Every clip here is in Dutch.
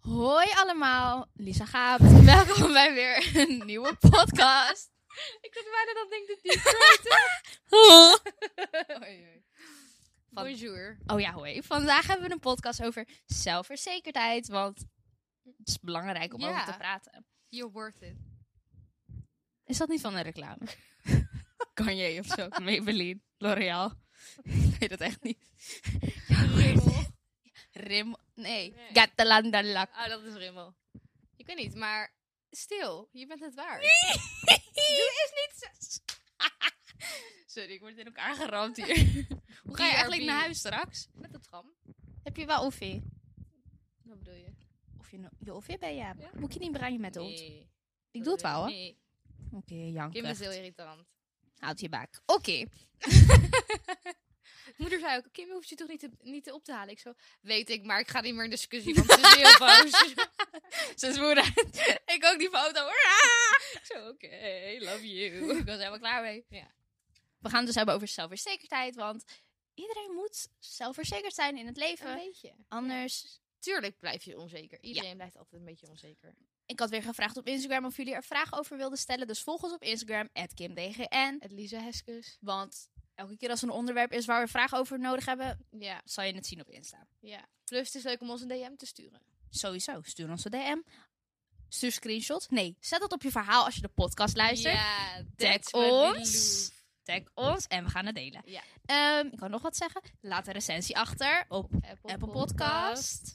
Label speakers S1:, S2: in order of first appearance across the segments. S1: Hey allemaal, Lisa Gaap. Welkom bij weer een nieuwe podcast.
S2: Ik zat bijna dat ding te diep.
S1: Oei, oei. Van-
S2: Bonjour.
S1: Oh ja, hoi. Vandaag hebben we een podcast over zelfverzekerdheid, want het is belangrijk om
S2: Ja.
S1: over te praten.
S2: You're worth it.
S1: Is dat niet van een reclame? Kanye of zo, Maybelline, L'Oreal. Ik weet het echt niet.
S2: Rimmel.
S1: Rim, nee,
S2: Nee.
S1: Gatalanda Lac.
S2: Ah, dat is Rimmel. Ik weet niet, maar stil. Je bent het waard.
S1: is niet Sorry, ik word in elkaar geramd hier. Hoe ga je eigenlijk
S2: BRB.
S1: naar huis straks?
S2: Met de tram.
S1: Heb je wel offie?
S2: Wat bedoel je?
S1: Of je, no- je offie bij je?
S2: Ja.
S1: Moet je niet brengen met de hond?
S2: Nee.
S1: Ik doe het wel, hè?
S2: Nee.
S1: Oké, janken.
S2: Kim is heel irritant.
S1: Houd je bak. Oké.
S2: Moeder zei ook, Kim je hoeft je toch niet, te, niet te op te halen? Ik zo, weet ik, maar ik ga niet meer in discussie, want ze is heel boos.
S1: Ze is moeder. ik ook die foto. hoor. Ah! Ik Zo, oké. love you. ik was helemaal klaar mee.
S2: Ja.
S1: We gaan het dus hebben over zelfverzekerdheid, want iedereen moet zelfverzekerd zijn in het leven.
S2: Een beetje.
S1: Anders
S2: Tuurlijk blijf je onzeker. Iedereen blijft altijd een beetje onzeker.
S1: Ik had weer gevraagd op Instagram of jullie er vragen over wilden stellen. Dus volg ons op Instagram, KimDGN.
S2: Het Lisa Heskes.
S1: Want elke keer als er een onderwerp is waar we vragen over nodig hebben,
S2: Ja,
S1: zal je het zien op Insta.
S2: ja. Plus het is leuk om ons een DM te sturen.
S1: Sowieso, stuur ons een DM. Stuur screenshots. Nee, zet dat op je verhaal als je de podcast luistert.
S2: Ja,
S1: Tag
S2: that's what we
S1: ons.
S2: love.
S1: Tag ons en we gaan het delen.
S2: Ja.
S1: Ehm, ik kan nog wat zeggen. Laat een recensie achter op
S2: Apple,
S1: Apple Podcast.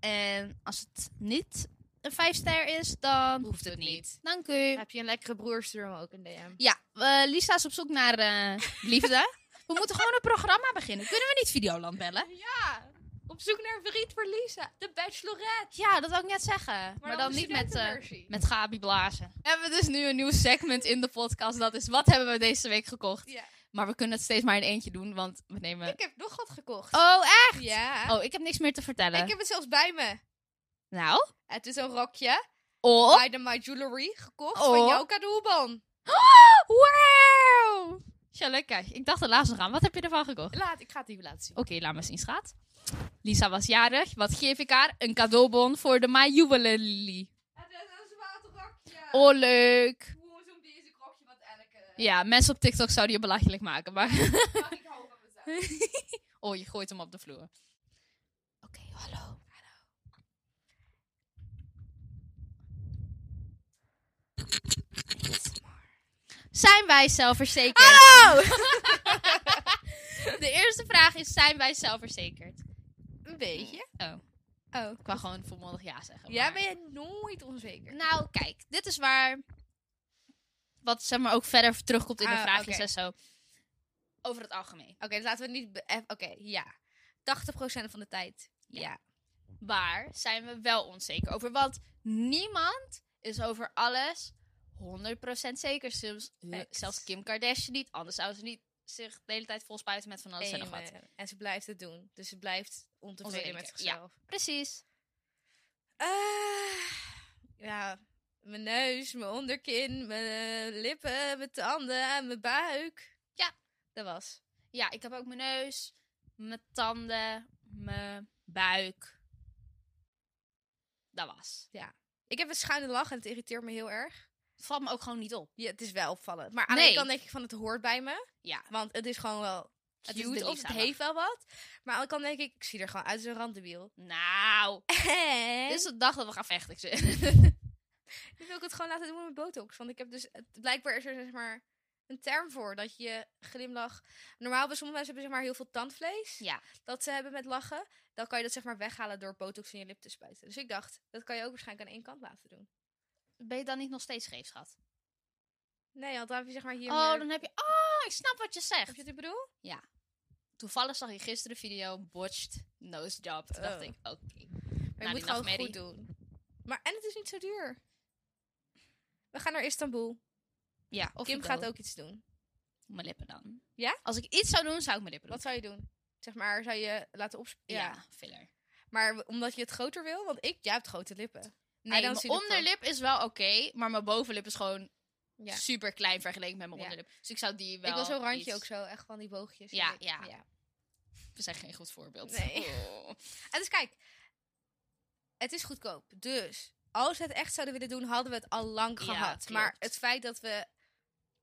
S1: En als het niet een 5-ster is, dan hoeft het niet. Dank u.
S2: Heb je een lekkere broer, stuur hem ook een DM.
S1: Ja, eh, Lisa is op zoek naar eh, liefde. We moeten gewoon een programma beginnen. Kunnen we niet Videoland bellen?
S2: Ja, op zoek naar een vriend voor Lisa. De Bachelorette.
S1: Ja, dat wil ik net zeggen. Maar,
S2: Maar,
S1: dan, niet met, eh,
S2: Met...
S1: met Gabi Blazen. We hebben dus nu een nieuw segment in de podcast. Dat is, wat hebben we deze week gekocht?
S2: Ja.
S1: Maar we kunnen het steeds maar in eentje doen, want we nemen...
S2: Ik heb nog wat gekocht.
S1: Oh, echt?
S2: Ja.
S1: Oh, ik heb niks meer te vertellen.
S2: Ik heb het zelfs bij me.
S1: Nou?
S2: Het is een rokje
S1: Oh.
S2: bij de My Jewelry gekocht
S1: Oh.
S2: van jouw cadeauban.
S1: Wauw! Sjalukka, ik dacht er laatst nog aan. Wat heb je ervan gekocht?
S2: Laat, ik ga het even laten zien.
S1: Oké, laat maar zien, schat. Lisa was jarig. Wat geef ik haar? Een cadeaubon voor de My Jubilee.
S2: Het is een zwaar rokje.
S1: Oh, leuk.
S2: Hoe zo'n deze rokje wat elke.
S1: Ja, mensen op TikTok zouden je belachelijk maken, maar...
S2: Maar ik hou van mezelf.
S1: Oh, je gooit hem op de vloer. Oké, hallo. Zijn wij zelfverzekerd? Hallo! Ah!
S2: Oh.
S1: de eerste vraag is, zijn wij zelfverzekerd?
S2: Een beetje.
S1: Oh,
S2: Oh.
S1: ik wou gewoon volmondig ja zeggen.
S2: Jij
S1: maar-
S2: bent nooit onzeker.
S1: Nou, kijk, dit is waar. Wat zeg maar ook verder terugkomt in de
S2: Ah,
S1: vraagjes
S2: oké.
S1: en zo. Over het algemeen.
S2: Oké, dus laten we niet. be- eh, Oké, ja. 80% van de tijd.
S1: Ja. Waar zijn we wel onzeker over? Want niemand is over alles 100% zeker. Zelfs, eh,
S2: Facts.
S1: zelfs Kim Kardashian niet. Anders zou ze niet zich de hele tijd volspuiten met van alles en nog wat.
S2: Amen. En ze blijft het doen. Dus ze blijft ontevreden
S1: Onzeker,
S2: met
S1: ja.
S2: zichzelf.
S1: Precies.
S2: Ah, ja, mijn neus, mijn onderkin, mijn eh, lippen, mijn tanden en mijn buik.
S1: Ja.
S2: Dat was.
S1: Ja, ik heb ook mijn neus, mijn tanden, mijn buik. Dat was.
S2: Ik heb een schuine lach en het irriteert me heel erg.
S1: Het valt me ook gewoon niet op.
S2: Ja, het is wel opvallend. Maar aan de
S1: Nee.
S2: ene kant denk ik van het hoort bij me.
S1: Ja.
S2: Want het is gewoon wel
S1: Het
S2: het
S1: is de
S2: cute of
S1: Lisa-lach.
S2: het heeft wel wat. Maar aan de andere kant denk ik, ik zie er gewoon uit als een randdebiel. Dus
S1: Nou,
S2: En
S1: dit is de dag dat we gaan vechten. ik zeg.
S2: Nu wil ik het gewoon laten doen met botox. Want ik heb dus... het- Blijkbaar is er zeg maar een term voor. Dat je je glimlach... Normaal bij sommige mensen hebben zeg maar heel veel tandvlees.
S1: Ja.
S2: Dat ze hebben met lachen. Dan kan je dat zeg maar weghalen door botox in je lip te spuiten. Dus ik dacht, dat kan je ook waarschijnlijk aan één kant laten doen.
S1: Ben je dan niet nog steeds scheef, schat?
S2: Nee, want dan heb je zeg maar hier...
S1: Oh,
S2: meer-
S1: dan heb je... Oh, ik snap wat je zegt.
S2: Heb je wat ik bedoel?
S1: Toevallig zag je gisteren een video, botched, nose job. Toen dacht
S2: Oh.
S1: ik, oké.
S2: Maar
S1: Nou, die
S2: je moet gewoon
S1: nachtmerrie.
S2: goed doen. Maar en het is niet zo duur. We gaan naar Istanbul.
S1: Ja, of
S2: Kim
S1: ik
S2: gaat
S1: wil
S2: ook iets doen.
S1: Mijn lippen dan.
S2: Ja?
S1: Als ik iets zou doen, zou ik mijn lippen doen.
S2: Wat zou je doen? Zeg maar, zou je laten opspelen?
S1: Ja,
S2: Ja.
S1: filler.
S2: Maar w- omdat je het groter wil? Want ik, jij hebt grote lippen.
S1: Nee,
S2: don't
S1: mijn
S2: see the problem.
S1: onderlip is wel oké, maar mijn bovenlip is gewoon
S2: Ja.
S1: super klein vergeleken met mijn
S2: Ja.
S1: onderlip. Dus ik zou die wel.
S2: ik wil zo'n randje
S1: iets-
S2: ook zo, echt van die boogjes.
S1: Ja,
S2: Ik-
S1: ja. We zijn geen goed voorbeeld.
S2: Nee.
S1: Oh.
S2: En dus kijk, het is goedkoop. Dus als we het echt zouden willen doen, hadden we het al lang
S1: Ja,
S2: gehad.
S1: klopt.
S2: Maar het feit dat we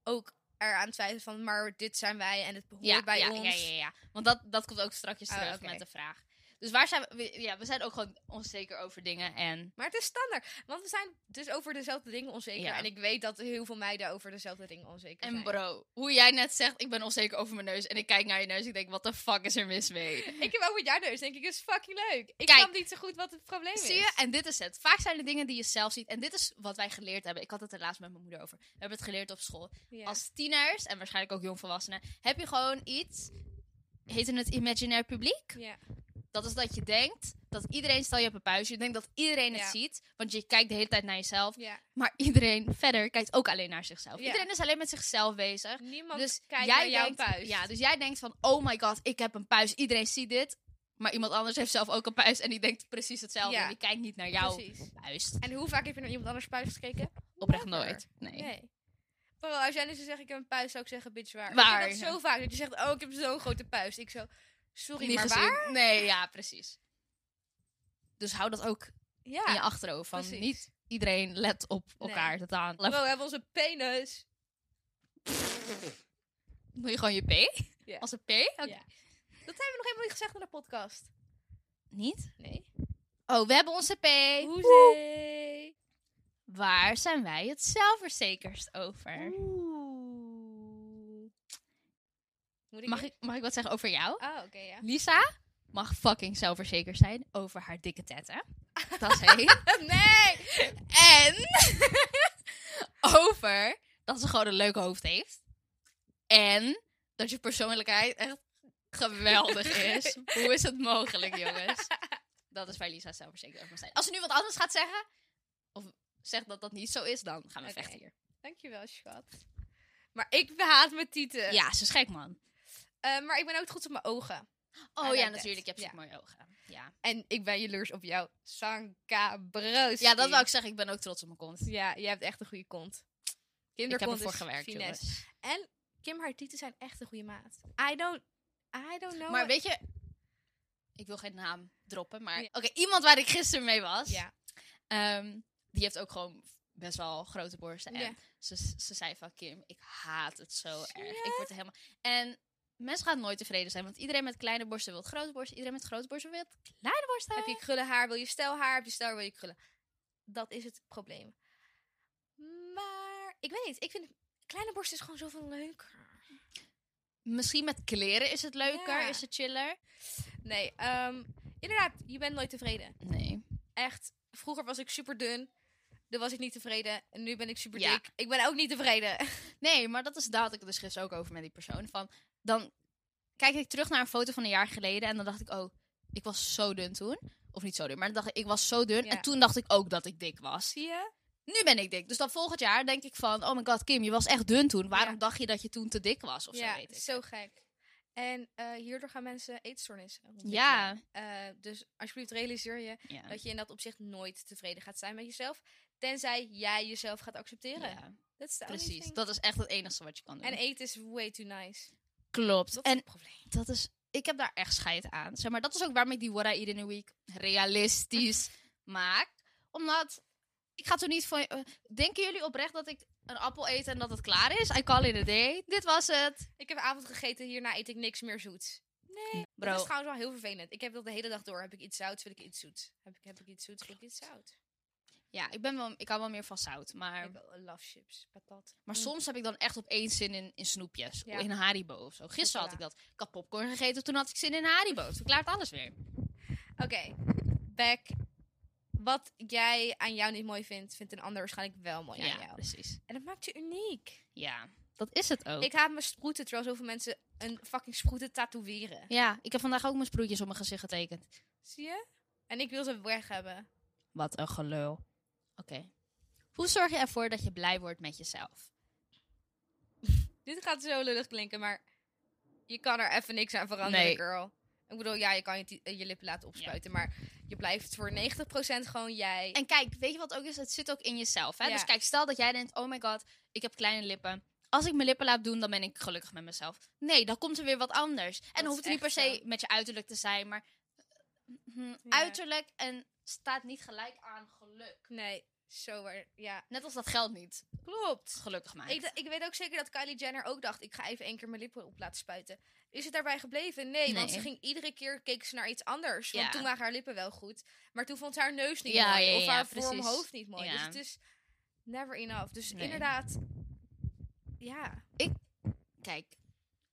S2: ook eraan twijfelen van, maar dit zijn wij en het behoort
S1: Ja,
S2: bij
S1: ja,
S2: ons.
S1: ja, ja, ja. Want dat, dat komt ook strakjes
S2: Oh,
S1: terug
S2: oké.
S1: met de vraag. Dus waar zijn we- we? Ja, we zijn ook gewoon onzeker over dingen. En
S2: Maar het is standaard. Want we zijn dus over dezelfde dingen onzeker.
S1: Ja.
S2: En ik weet dat heel veel meiden over dezelfde dingen onzeker
S1: En
S2: zijn.
S1: bro, hoe jij net zegt, ik ben onzeker over mijn neus. En ik kijk naar je neus ik denk, wat de fuck is er mis mee?
S2: Ik heb ook met jouw neus, denk ik, is fucking leuk. Ik
S1: Kijk.
S2: snap niet zo goed wat het probleem is.
S1: Zie je? En dit is het. Vaak zijn de dingen die je zelf ziet. En dit is wat wij geleerd hebben. Ik had het er laatst met mijn moeder over. We hebben het geleerd op school.
S2: Ja.
S1: Als tieners, en waarschijnlijk ook jongvolwassenen, heb je gewoon iets... Heet het imaginair publiek?
S2: Ja.
S1: Dat is dat je denkt dat iedereen... Stel je hebt een puistje, je denkt dat iedereen het
S2: Ja.
S1: ziet. Want je kijkt de hele tijd naar jezelf.
S2: ja.
S1: Maar iedereen verder kijkt ook alleen naar zichzelf.
S2: Ja.
S1: Iedereen is alleen met zichzelf bezig.
S2: Niemand
S1: Dus
S2: kijkt
S1: jij
S2: naar jouw
S1: denkt,
S2: puist.
S1: Ja, dus jij denkt van, oh my god, ik heb een puist. Iedereen ziet dit. Maar iemand anders heeft zelf ook een puist en die denkt precies hetzelfde.
S2: Ja.
S1: En die kijkt niet naar jouw
S2: Precies.
S1: puist.
S2: En hoe vaak heb je naar iemand anders puist gekeken?
S1: Oprecht
S2: Never.
S1: nooit. Nee.
S2: Nee. Bro, als jij nu zou zeggen, ik heb een puist, zou ik zeggen, bitch, waar?
S1: Waar,
S2: Ik heb dat
S1: ja.
S2: zo vaak, dat je zegt, oh, ik heb zo'n grote puist. Ik zo, sorry,
S1: Niet
S2: maar
S1: gezien.
S2: waar?
S1: Nee, ja, precies. Dus hou dat ook in je
S2: Ja.
S1: achterhoofd. Van
S2: precies.
S1: niet iedereen let op elkaar. Dat aan.
S2: Bro, we hebben onze penis.
S1: Doe je gewoon je P?
S2: Ja.
S1: Als een P? Oké.
S2: Ja. Dat hebben we nog helemaal niet gezegd in de podcast.
S1: Niet?
S2: Nee.
S1: Oh, we hebben onze P.
S2: Hoezee.
S1: Waar zijn wij het zelfverzekerst over?
S2: Oeh. Moet ik
S1: Mag
S2: weer?
S1: ik, mag ik wat zeggen over jou?
S2: Oh, oké, ja.
S1: Lisa mag fucking zelfverzekerd zijn over haar dikke tetten. Dat is één.
S2: nee!
S1: en over dat ze gewoon een leuk hoofd heeft. En dat je persoonlijkheid echt geweldig is. Hoe is het mogelijk, jongens? Dat is waar Lisa zelfverzekerd over mag zijn. Als ze nu wat anders gaat zeggen, of zegt dat dat niet zo is, dan gaan we
S2: Oké.
S1: vechten hier.
S2: Dankjewel, schat. Maar ik haat mijn tieten.
S1: Ja, ze is gek, man.
S2: Eh, maar ik ben ook trots op mijn ogen.
S1: Oh
S2: like
S1: ja,
S2: that.
S1: natuurlijk. Je hebt
S2: Ja.
S1: zo'n mooie ogen. Ja.
S2: En ik ben jaloers op jou. Sanka broos.
S1: ja, dat wil ik zeggen. Ik ben ook trots op mijn kont.
S2: Ja, jij hebt echt een goede kont.
S1: Ik heb
S2: Kinderkont
S1: ervoor
S2: is
S1: gewerkt,
S2: finesse.
S1: jongens.
S2: En Kim, haar tieten zijn echt een goede maat. I don't, I don't know.
S1: Maar
S2: what-
S1: weet je, ik wil geen naam droppen, maar
S2: Ja.
S1: oké, iemand waar ik gisteren mee was,
S2: Ja.
S1: ehm, die heeft ook gewoon best wel grote borsten. En
S2: Ja.
S1: ze, ze zei van Kim, ik haat het zo
S2: Zie
S1: erg. Ik word er helemaal. En mensen gaan nooit tevreden zijn, want iedereen met kleine borsten wil grote borsten, iedereen met grote borsten wil kleine borsten.
S2: Heb je krullen haar, wil je stel haar, heb je stel wil je krullen. Dat is het probleem. Maar ik weet niet, ik vind kleine borst is gewoon zoveel leuker.
S1: Misschien met kleren is het leuker,
S2: Ja.
S1: is het chiller.
S2: Nee, ehm, inderdaad, je bent nooit tevreden.
S1: Nee.
S2: Echt, vroeger was ik super dun. Dan was ik niet tevreden. En nu ben ik super
S1: Ja.
S2: dik. Ik ben ook niet tevreden.
S1: Nee, maar dat is daar had ik het dus gisteren ook over met die persoon. Van, dan kijk ik terug naar een foto van een jaar geleden en dan dacht ik, oh, ik was zo dun toen. Of niet zo dun, maar dan dacht ik, ik was zo dun.
S2: Ja.
S1: En toen dacht ik ook dat ik dik was.
S2: Zie je?
S1: Nu ben ik dik. Dus dan volgend jaar denk ik van, oh my god, Kim, je was echt dun toen. Waarom
S2: Ja.
S1: dacht je dat je toen te dik was? Of
S2: ja,
S1: zo weet ik.
S2: zo gek. En eh, hierdoor gaan mensen eetstoornissen ontwikkelen.
S1: Ja.
S2: Eh, dus alsjeblieft realiseer je
S1: Ja.
S2: dat je in dat opzicht nooit tevreden gaat zijn met jezelf. Tenzij jij jezelf gaat accepteren.
S1: Ja,
S2: Dat is de only
S1: precies.
S2: thing.
S1: Dat is echt het enige wat je kan doen.
S2: En eten is way too nice.
S1: Klopt.
S2: Dat is
S1: En
S2: het probleem.
S1: dat is, ik heb daar echt scheid aan. Zeg maar, dat is ook waarom ik die What I Eat in a Week realistisch maak. Omdat, ik ga toen niet van, eh, denken jullie oprecht dat ik een appel eet en dat het klaar is? I call it a day. Dit was het.
S2: Ik heb avond gegeten, hierna eet ik niks meer zoets.
S1: Bro,
S2: Dat is trouwens wel heel vervelend. Ik heb dat de hele dag door. Heb ik iets zouts, wil ik iets zoets. Heb ik, heb ik iets zoets, wil ik iets zout.
S1: ja, ik, ben wel, ik hou wel meer van zout. Maar,
S2: Ik eh, love chips, patat. Mm.
S1: maar soms heb ik dan echt opeens zin in, in snoepjes.
S2: Ja.
S1: In Haribo of zo. Gisteren had ik
S2: Chocola.
S1: dat. Ik had popcorn gegeten, toen had ik zin in Haribo. Het verklaart alles weer.
S2: Oké, back. Wat jij aan jou niet mooi vindt, vindt een ander waarschijnlijk wel mooi
S1: Ja,
S2: aan jou.
S1: precies.
S2: En dat maakt je uniek.
S1: Ja, dat is het ook.
S2: Ik haat mijn sproeten, terwijl zoveel mensen een fucking sproeten tatoeëren.
S1: Ja, ik heb vandaag ook mijn sproetjes op mijn gezicht getekend.
S2: Zie je? En ik wil ze weg hebben.
S1: Wat een gelul. Oké. Hoe zorg je ervoor dat je blij wordt met jezelf?
S2: Dit gaat zo lullig klinken, maar je kan er even niks aan veranderen,
S1: Nee.
S2: girl. Ik bedoel, ja, je kan je, ti- eh, je lippen laten opspuiten, maar je blijft voor 90% gewoon jij.
S1: En kijk, weet je wat ook is? Het zit ook in jezelf. Hè?
S2: Ja.
S1: Dus kijk, stel dat jij denkt, oh my god, ik heb kleine lippen. Als ik mijn lippen laat doen, dan ben ik gelukkig met mezelf. Nee, dan komt er weer wat anders. En
S2: is
S1: dan hoeft het niet per
S2: echt
S1: se
S2: zo.
S1: met je uiterlijk te zijn, maar eh, hm,
S2: Ja.
S1: uiterlijk en staat niet gelijk aan geluk.
S2: Nee, zo waar. Ja,
S1: Net als dat geld niet
S2: klopt.
S1: gelukkig maakt.
S2: Ik, d- ik weet ook zeker dat Kylie Jenner ook dacht, ik ga even één keer mijn lippen op laten spuiten. Is het daarbij gebleven? Nee, want
S1: Nee.
S2: ze ging iedere keer, keek ze naar iets anders. Want
S1: Ja.
S2: toen waren haar lippen wel goed. Maar toen vond ze haar neus niet
S1: Ja,
S2: mooi.
S1: ja,
S2: of
S1: ja,
S2: haar
S1: precies.
S2: vormhoofd niet mooi. Dus
S1: Ja.
S2: het is never enough. Dus
S1: Nee.
S2: inderdaad, ja.
S1: Kijk,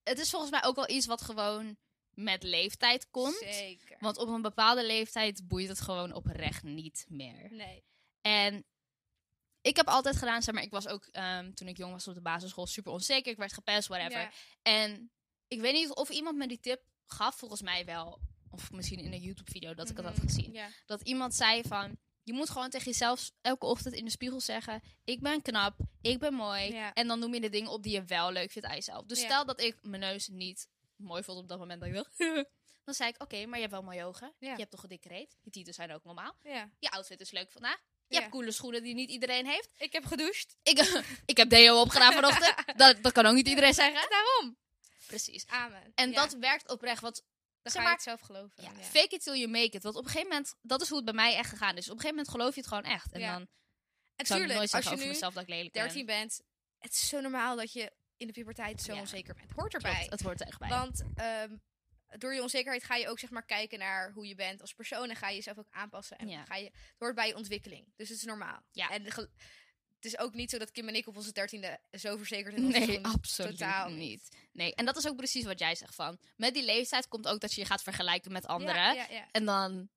S1: het is volgens mij ook wel iets wat gewoon met leeftijd komt.
S2: Zeker.
S1: Want op een bepaalde leeftijd boeit het gewoon oprecht niet meer.
S2: nee.
S1: En ik heb altijd gedaan, zeg maar, ik was ook ehm, toen ik jong was op de basisschool super onzeker. Ik werd gepest, whatever.
S2: Ja.
S1: En ik weet niet of iemand me die tip gaf, volgens mij wel. Of misschien in een YouTube-video dat ik het
S2: Mhm.
S1: had gezien.
S2: Ja.
S1: Dat iemand zei van, je moet gewoon tegen jezelf elke ochtend in de spiegel zeggen... Ik ben knap, ik ben mooi.
S2: Ja.
S1: En dan noem je de dingen op die je wel leuk vindt aan jezelf. Dus
S2: Ja.
S1: stel dat ik mijn neus niet mooi vond op dat moment dat ik dacht... dan zei ik, oké, maar je hebt wel mooie ogen.
S2: Ja.
S1: Je hebt toch een dikke reet. Je tieten zijn ook normaal.
S2: ja.
S1: Je outfit is leuk vandaag. Je
S2: Ja.
S1: hebt coole schoenen die niet iedereen heeft.
S2: Ik heb gedoucht.
S1: Ik, ik heb deo opgedaan vanochtend. Dat, dat kan ook niet iedereen zeggen.
S2: Daarom.
S1: Precies.
S2: Amen.
S1: En
S2: Ja,
S1: dat werkt oprecht. Want zeg
S2: dan ga je
S1: maar-
S2: het zelf geloven.
S1: ja,
S2: Ja.
S1: fake it till you make it. Want op een gegeven moment, dat is hoe het bij mij echt gegaan is. Op een gegeven moment geloof je het gewoon echt. En
S2: Ja.
S1: dan
S2: En
S1: zou ik
S2: tuurlijk,
S1: nooit
S2: als
S1: zeggen
S2: je
S1: over
S2: nu
S1: mezelf dat ik lelijk
S2: 13 bent, het is zo normaal dat je in de puberteit zo
S1: Ja.
S2: onzeker bent. Hoort
S1: ben. Klopt,
S2: erbij.
S1: het hoort er echt bij.
S2: Want ehm, door je onzekerheid ga je ook zeg maar kijken naar hoe je bent als persoon en ga je jezelf ook aanpassen. En
S1: Ja.
S2: ga je, het hoort bij je ontwikkeling. Dus het is normaal.
S1: Ja.
S2: En gel- het is ook niet zo dat Kim en ik op onze dertiende zo verzekerd in onze
S1: nee,
S2: schoenen-
S1: absoluut
S2: totaal
S1: niet.
S2: niet.
S1: Nee, en dat is ook precies wat jij zegt van. Met die leeftijd komt ook dat je je gaat vergelijken met anderen.
S2: Ja, ja, ja.
S1: En dan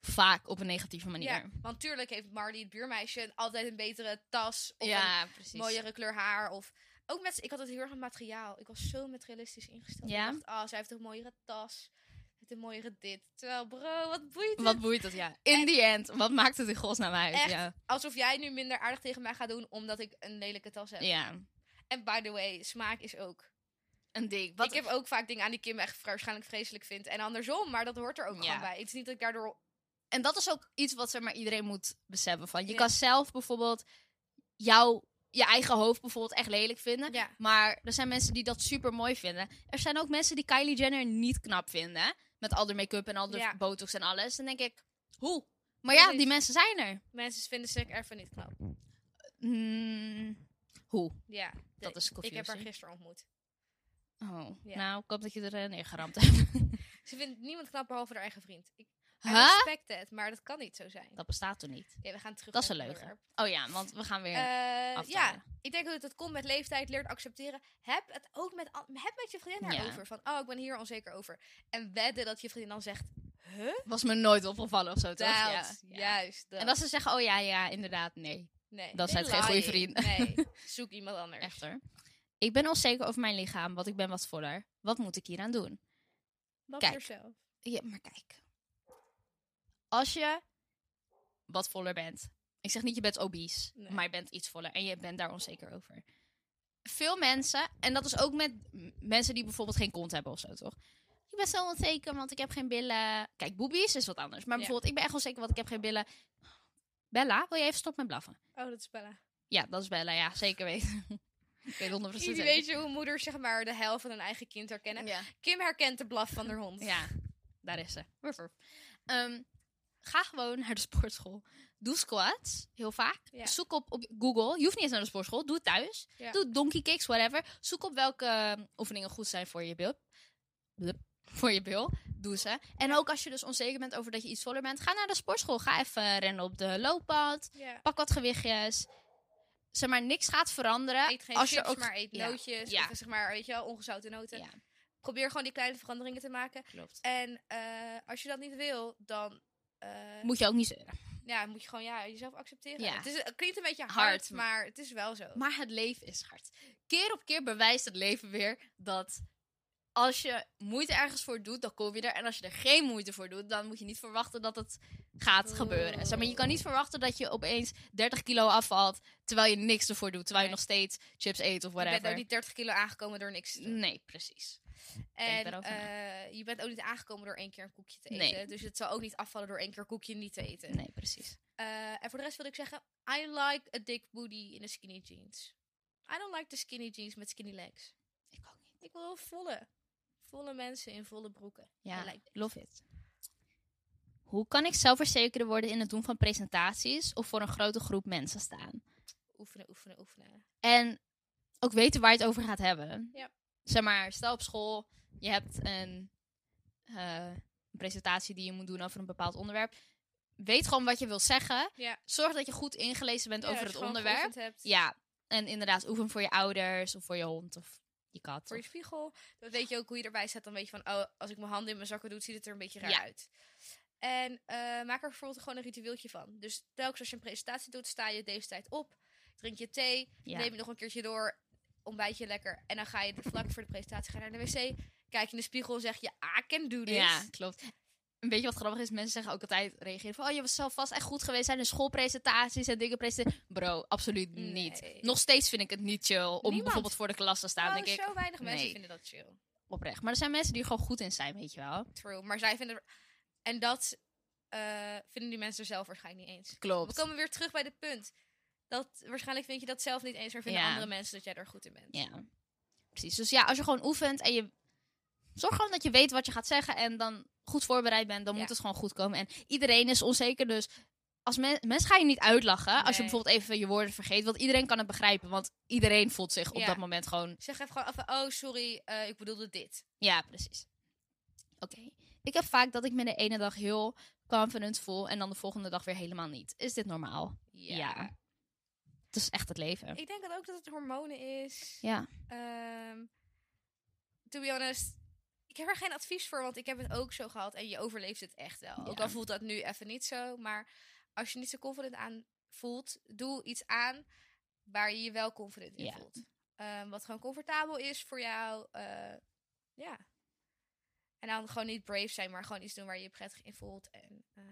S1: vaak op een negatieve manier.
S2: Ja, want tuurlijk heeft Marley, het buurmeisje, altijd een betere tas of een
S1: Ja, precies.
S2: mooiere kleur haar. Of ook met, ik had het heel erg met materiaal. Ik was zo materialistisch ingesteld.
S1: Ja?
S2: Ik dacht, ah, zij heeft een mooiere tas. Met een mooiere dit. Terwijl, bro, wat boeit het?
S1: Wat boeit dat, ja. In the end, wat maakt het in godsnaam uit?
S2: Echt.
S1: Ja.
S2: Alsof jij nu minder aardig tegen mij gaat doen omdat ik een lelijke tas heb.
S1: ja,
S2: En by the way, smaak is ook.
S1: een ding. Wat
S2: ik heb ook vaak dingen aan die Kim echt waarschijnlijk vreselijk vindt. En andersom, maar dat hoort er ook
S1: Ja.
S2: gewoon bij. Het is niet dat ik daardoor...
S1: En dat is ook iets wat zeg maar, iedereen moet beseffen. Van. Je
S2: Ja.
S1: kan zelf bijvoorbeeld jouw, je eigen hoofd bijvoorbeeld echt lelijk vinden.
S2: Ja,
S1: Maar er zijn mensen die dat super mooi vinden. Er zijn ook mensen die Kylie Jenner niet knap vinden. Met al de make-up en al de
S2: Ja.
S1: botox en alles. Dan denk ik, hoe? Maar ja,
S2: Precies.
S1: die mensen zijn er.
S2: mensen vinden ze even niet knap.
S1: Hmm, hoe?
S2: Ja,
S1: Dat is
S2: ik heb haar
S1: confusing.
S2: gisteren ontmoet.
S1: Oh,
S2: Ja.
S1: nou, ik hoop dat je er eh, neergeramd hebt.
S2: Ze vindt niemand knap behalve haar eigen vriend. Ik I
S1: Huh?
S2: respect het, maar dat kan niet zo zijn.
S1: Dat bestaat toch niet?
S2: Ja, we gaan terug
S1: Dat is
S2: naar
S1: een
S2: het
S1: leugen.
S2: onderwerp.
S1: Oh ja, want we gaan weer
S2: Eh, ja,
S1: aftalen.
S2: ik denk dat het komt met leeftijd, leert accepteren. Heb het ook met, an- heb met je vriendin
S1: Ja.
S2: daarover. Van, oh, ik ben hier onzeker over. En wedden dat je vriendin dan zegt, huh?
S1: Was me nooit opgevallen of zo, toch? Ja,
S2: Dat,
S1: ja.
S2: Juist. Dat.
S1: En dat ze zeggen, oh ja, ja, inderdaad, nee.
S2: nee,
S1: dan zijn
S2: nee,
S1: het geen goede
S2: lying.
S1: vrienden.
S2: Nee, zoek iemand anders.
S1: Echter. Ik ben onzeker over mijn lichaam, want ik ben wat voller. Wat moet ik hieraan doen?
S2: Love
S1: Kijk.
S2: yourself.
S1: Ja, maar kijk. Als je wat voller bent. Ik zeg niet je bent obese,
S2: Nee.
S1: maar je bent iets voller en je bent daar onzeker over. Veel mensen, en dat is ook met m- mensen die bijvoorbeeld geen kont hebben of zo, toch? Ik ben zo onzeker, want ik heb geen billen. Kijk, boobies is wat anders. Maar
S2: Ja.
S1: bijvoorbeeld, ik ben echt onzeker, want ik heb geen billen. Bella, wil je even stoppen met blaffen?
S2: Oh, dat is Bella.
S1: Ja, dat is Bella, ja, zeker weten. ik weet 100%
S2: Jullie
S1: zeker.
S2: weet je hoe moeders zeg maar, de hel van hun eigen kind herkennen.
S1: Ja.
S2: Kim herkent de blaf van haar hond.
S1: Ja, daar is ze. Wurf, wurf. Ehm, ga gewoon naar de sportschool. Doe squats, heel vaak.
S2: Ja.
S1: Zoek op, op Google. Je hoeft niet eens naar de sportschool. Doe het thuis.
S2: Ja.
S1: Doe donkey kicks, whatever. Zoek op welke ehm, oefeningen goed zijn voor je bil. Blup. Voor je bil. Doe ze. En ook als je dus onzeker bent over dat je iets voller bent, ga naar de sportschool. Ga even rennen op de loopband.
S2: Ja.
S1: Pak wat gewichtjes. Zeg maar, niks gaat veranderen.
S2: Eet geen
S1: als
S2: chips,
S1: je ook...
S2: maar eet
S1: ja.
S2: nootjes.
S1: Ja.
S2: Of zeg maar, weet je wel, ongezouten noten.
S1: Ja,
S2: Probeer gewoon die kleine veranderingen te maken.
S1: klopt.
S2: En eh, als je dat niet wil, dan eh,
S1: Moet je ook niet zeuren.
S2: ja, moet je gewoon ja, jezelf accepteren.
S1: Ja.
S2: Het, is, het klinkt een beetje hard,
S1: Hard, maar-
S2: maar het is wel zo.
S1: Maar het leven is hard. Keer op keer bewijst het leven weer dat als je moeite ergens voor doet, dan kom je er. En als je er geen moeite voor doet, dan moet je niet verwachten dat het gaat
S2: Oeh.
S1: gebeuren. Zeg maar, je kan niet verwachten dat je opeens 30 kilo afvalt terwijl je niks ervoor doet. Terwijl je
S2: Nee.
S1: nog steeds chips eet of
S2: je bent ook
S1: whatever. Mm.
S2: niet 30 kilo aangekomen door niks te doen.
S1: Nee, precies.
S2: En
S1: daarover
S2: eh, je bent ook niet aangekomen door één keer een koekje te
S1: Nee.
S2: eten. Dus het zal ook niet afvallen door één keer een koekje niet te eten.
S1: Nee, precies.
S2: Eh, en voor de rest wil ik zeggen, I like a dick booty in a skinny jeans. I don't like the skinny jeans met skinny legs.
S1: Ik ook niet.
S2: Ik wil volle, volle mensen in volle broeken.
S1: Ja,
S2: I like that.
S1: love it. Hoe kan ik zelfverzekerder worden in het doen van presentaties of voor een grote groep mensen staan?
S2: Oefenen, oefenen, oefenen.
S1: En ook weten waar je het over gaat hebben.
S2: Ja.
S1: Zeg maar, stel op school, je hebt een, eh, een presentatie die je moet doen over een bepaald onderwerp. Weet gewoon wat je wilt zeggen.
S2: Ja.
S1: Zorg dat je goed ingelezen bent
S2: Ja,
S1: over
S2: dat
S1: het
S2: je gewoon
S1: onderwerp.
S2: geoefend hebt.
S1: Ja, en inderdaad, oefen voor je ouders of voor je hond of je kat.
S2: Voor je
S1: of-
S2: spiegel. Dan weet je ook hoe je erbij staat. Dan weet je van, oh, als ik mijn handen in mijn zakken doe, ziet het er een beetje raar
S1: Ja.
S2: uit. En eh, maak er bijvoorbeeld gewoon een ritueeltje van. Dus telkens als je een presentatie doet, sta je deze tijd op. Drink je thee.
S1: Ja.
S2: Neem je nog een keertje door. Ontbijt je lekker. En dan ga je vlak voor de presentatie ga je naar de wc. Kijk in de spiegel en zeg je, ah, I can do this.
S1: Ja, klopt. Een beetje wat grappig is, mensen zeggen ook altijd reageren van... oh, je was zelf vast echt goed geweest zijn in schoolpresentaties en dingen presentaties. Bro, absoluut
S2: Nee.
S1: niet. Nog steeds vind ik het niet chill om
S2: Niemand.
S1: bijvoorbeeld voor de klas te staan.
S2: Oh,
S1: nou, denk ik,
S2: zo weinig mensen
S1: nee.
S2: vinden dat chill.
S1: oprecht. Maar er zijn mensen die er gewoon goed in zijn, weet je wel.
S2: True. Maar zij vinden... En dat eh, vinden die mensen zelf waarschijnlijk niet eens. We
S1: Klopt.
S2: komen weer terug bij het punt. Dat, waarschijnlijk vind je dat zelf niet eens, maar vinden
S1: Ja.
S2: andere mensen dat jij er goed in bent.
S1: Ja, precies. Dus ja, als je gewoon oefent en je... Zorg gewoon dat je weet wat je gaat zeggen en dan goed voorbereid bent. Dan
S2: Ja.
S1: moet het gewoon goed komen. En iedereen is onzeker, dus... Als men, mensen gaan je niet uitlachen als je
S2: Nee.
S1: bijvoorbeeld even je woorden vergeet. Want iedereen kan het begrijpen. Want iedereen voelt zich op
S2: Ja.
S1: dat moment gewoon
S2: Zeg even gewoon even, oh sorry, eh, ik bedoelde dit.
S1: Ja, precies. Oké. Ik heb vaak dat ik me de ene dag heel confident voel en dan de volgende dag weer helemaal niet. Is dit normaal?
S2: Ja.
S1: Het is echt het leven.
S2: Ik denk dat ook dat het hormonen is.
S1: Ja.
S2: Ehm, to be honest, ik heb er geen advies voor, want ik heb het ook zo gehad. En je overleeft het echt wel. Ook
S1: Ja.
S2: al voelt dat nu even niet zo. Maar als je niet zo confident aan voelt, doe iets aan waar je je wel confident in
S1: Ja.
S2: voelt. Ehm, wat gewoon comfortabel is voor jou. eh, ja. En dan gewoon niet brave zijn, maar gewoon iets doen waar je je prettig in voelt. En, eh,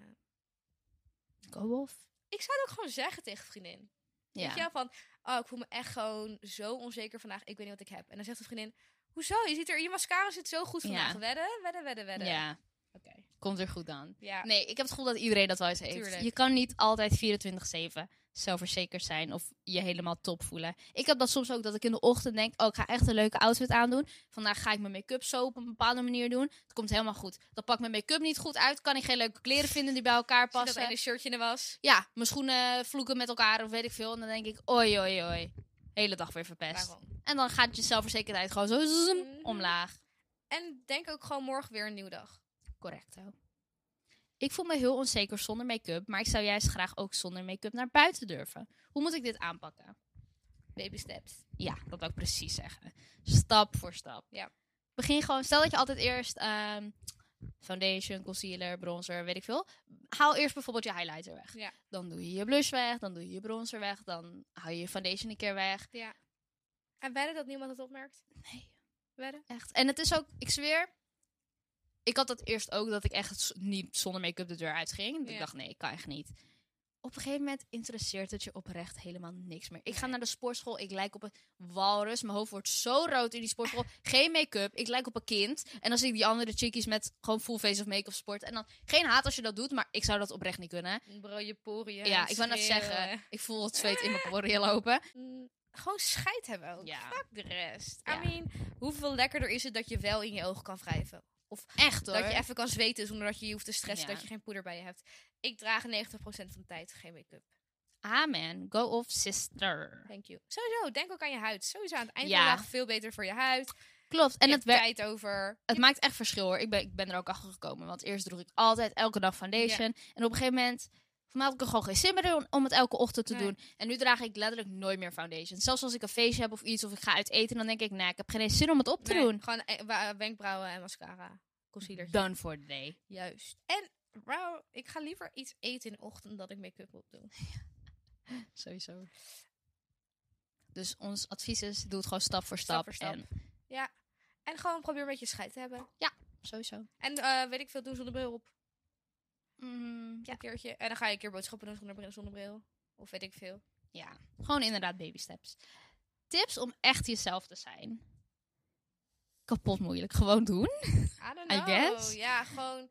S1: Go off.
S2: ik zou het ook gewoon zeggen tegen vriendin. Weet je
S1: Ja.
S2: wel, van, oh, ik voel me echt gewoon zo onzeker vandaag. Ik weet niet wat ik heb. En dan zegt de vriendin, hoezo? Je ziet er, je mascara zit zo goed
S1: Ja.
S2: vandaag. Wedden, wedden, wedden, wedden.
S1: Ja.
S2: Oké.
S1: Komt er goed aan.
S2: Ja.
S1: Nee, ik heb het gevoel dat iedereen dat wel eens heeft.
S2: Tuurlijk.
S1: Je kan niet altijd 24-7 zelfverzekerd zijn of je helemaal top voelen. Ik heb dat soms ook dat ik in de ochtend denk, oh, ik ga echt een leuke outfit aandoen. Vandaag ga ik mijn make-up zo op een bepaalde manier doen. Het komt helemaal goed. Dan pak ik mijn make-up niet goed uit, kan ik geen leuke kleren vinden die bij elkaar
S2: Zie dat
S1: passen.
S2: ene shirtje er was.
S1: ja, mijn schoenen vloeken met elkaar of weet ik veel. En dan denk ik, oi, oi, oi. Hele dag weer verpest.
S2: Waarom?
S1: En dan gaat je zelfverzekerdheid gewoon zo zoem,
S2: Mhm.
S1: omlaag.
S2: En denk ook gewoon morgen weer een nieuwe dag.
S1: Correcto. Ik voel me heel onzeker zonder make-up, maar ik zou juist graag ook zonder make-up naar buiten durven. Hoe moet ik dit aanpakken?
S2: Baby steps.
S1: Ja, dat wil ik precies zeggen. Stap voor stap.
S2: Ja.
S1: Begin gewoon, stel dat je altijd eerst ehm, foundation, concealer, bronzer, weet ik veel. Haal eerst bijvoorbeeld je highlighter weg.
S2: Ja.
S1: Dan doe je je blush weg, dan doe je je bronzer weg, dan hou je je foundation een keer weg.
S2: Ja. En wedden dat niemand het opmerkt?
S1: Nee,
S2: Wedden?
S1: echt. En het is ook, ik zweer, ik had dat eerst ook dat ik echt z- niet zonder make-up de deur uitging. Dat
S2: Ja.
S1: Ik dacht, nee, ik kan echt niet. Op een gegeven moment interesseert het je oprecht helemaal niks meer. Ik ga
S2: Nee.
S1: naar de sportschool, ik lijk op een walrus. Mijn hoofd wordt zo rood in die sportschool. Geen make-up, ik lijk op een kind. En dan zie ik die andere chickies met gewoon full face of make-up sport. En dan geen haat als je dat doet, maar ik zou dat oprecht niet kunnen.
S2: Bro, je poriën.
S1: Ja, ik wou net
S2: schreeuwen.
S1: zeggen, ik voel het zweet in mijn poriën lopen.
S2: Mm, Gewoon scheid hebben ook.
S1: Ja.
S2: Fuck de rest.
S1: Ja.
S2: I mean, hoeveel lekkerder is het dat je wel in je ogen kan wrijven? Of
S1: Echt hoor.
S2: Dat je even kan zweten zonder dat je je hoeft te stressen
S1: Ja.
S2: dat je geen poeder bij je hebt. Ik draag 90% van de tijd geen make-up.
S1: Amen, go off sister.
S2: Thank you. Sowieso, denk ook aan je huid. Sowieso aan het eind
S1: Ja.
S2: van de dag veel beter voor je huid.
S1: Klopt, en
S2: En
S1: het
S2: het
S1: werkt.
S2: tijd over.
S1: Het maakt echt verschil hoor. Ik ben, ik ben er ook achter gekomen. Want eerst droeg ik altijd elke dag foundation. En op een gegeven moment. Voor mij had ik er gewoon geen zin meer in om het elke ochtend te
S2: Nee.
S1: doen. En nu draag ik letterlijk nooit meer foundation. Zelfs als ik een feestje heb of iets of ik ga uit eten, dan denk ik, nee, ik heb geen eens zin om het op te
S2: Nee,
S1: doen.
S2: Gewoon eh, wa- wenkbrauwen en mascara. Concealer.
S1: Done for the day.
S2: Juist. En wauw, ik ga liever iets eten in de ochtend dan ik make-up op doe.
S1: Sowieso. Dus ons advies is, doe het gewoon stap voor stap.
S2: Stap voor stap.
S1: En
S2: Ja. En gewoon probeer een beetje scheid te hebben.
S1: sowieso.
S2: En eh, weet ik veel, doe zonnebril op.
S1: Mm, ja.
S2: Een keertje. En dan ga je een keer boodschappen doen zonder bril- zonnebril. Of weet ik veel.
S1: ja, gewoon inderdaad baby steps. Tips om echt jezelf te zijn. Kapot moeilijk. Gewoon doen.
S2: I don't
S1: I
S2: know.
S1: guess.
S2: Ja, gewoon.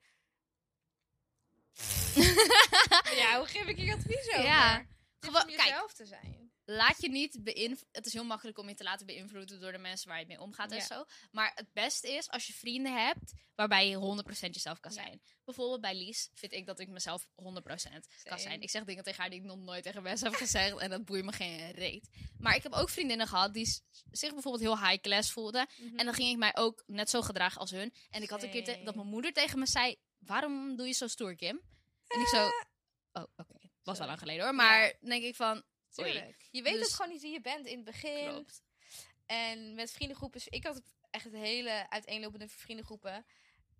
S2: ja, hoe geef ik je advies over?
S1: Ja.
S2: Tips
S1: Gewoon-
S2: om
S1: kijk.
S2: jezelf te zijn.
S1: laat je niet beïnvloeden. Het is heel makkelijk om je te laten beïnvloeden door de mensen waar je mee omgaat en
S2: Ja.
S1: zo. Maar het beste is als je vrienden hebt waarbij je 100% jezelf kan
S2: Ja.
S1: zijn. Bijvoorbeeld bij Lies vind ik dat ik mezelf 100% kan zijn.
S2: Same.
S1: Ik zeg dingen tegen haar die ik nog nooit tegen mensen heb gezegd en dat boeit me geen reet. Maar ik heb ook vriendinnen gehad die s- zich bijvoorbeeld heel high class voelden. En dan ging ik mij ook net zo gedragen als hun. En ik had een keer te-
S2: Same.
S1: dat mijn moeder tegen me zei: Waarom doe je zo stoer, Kim? En ik zo. Oh, oké. Was wel
S2: Sorry.
S1: lang geleden hoor. Maar dan denk ik van. oei,
S2: Tuurlijk. Je weet
S1: Dus-
S2: ook gewoon niet wie je bent in het begin.
S1: Klopt.
S2: En met vriendengroepen. Ik had echt hele uiteenlopende vriendengroepen.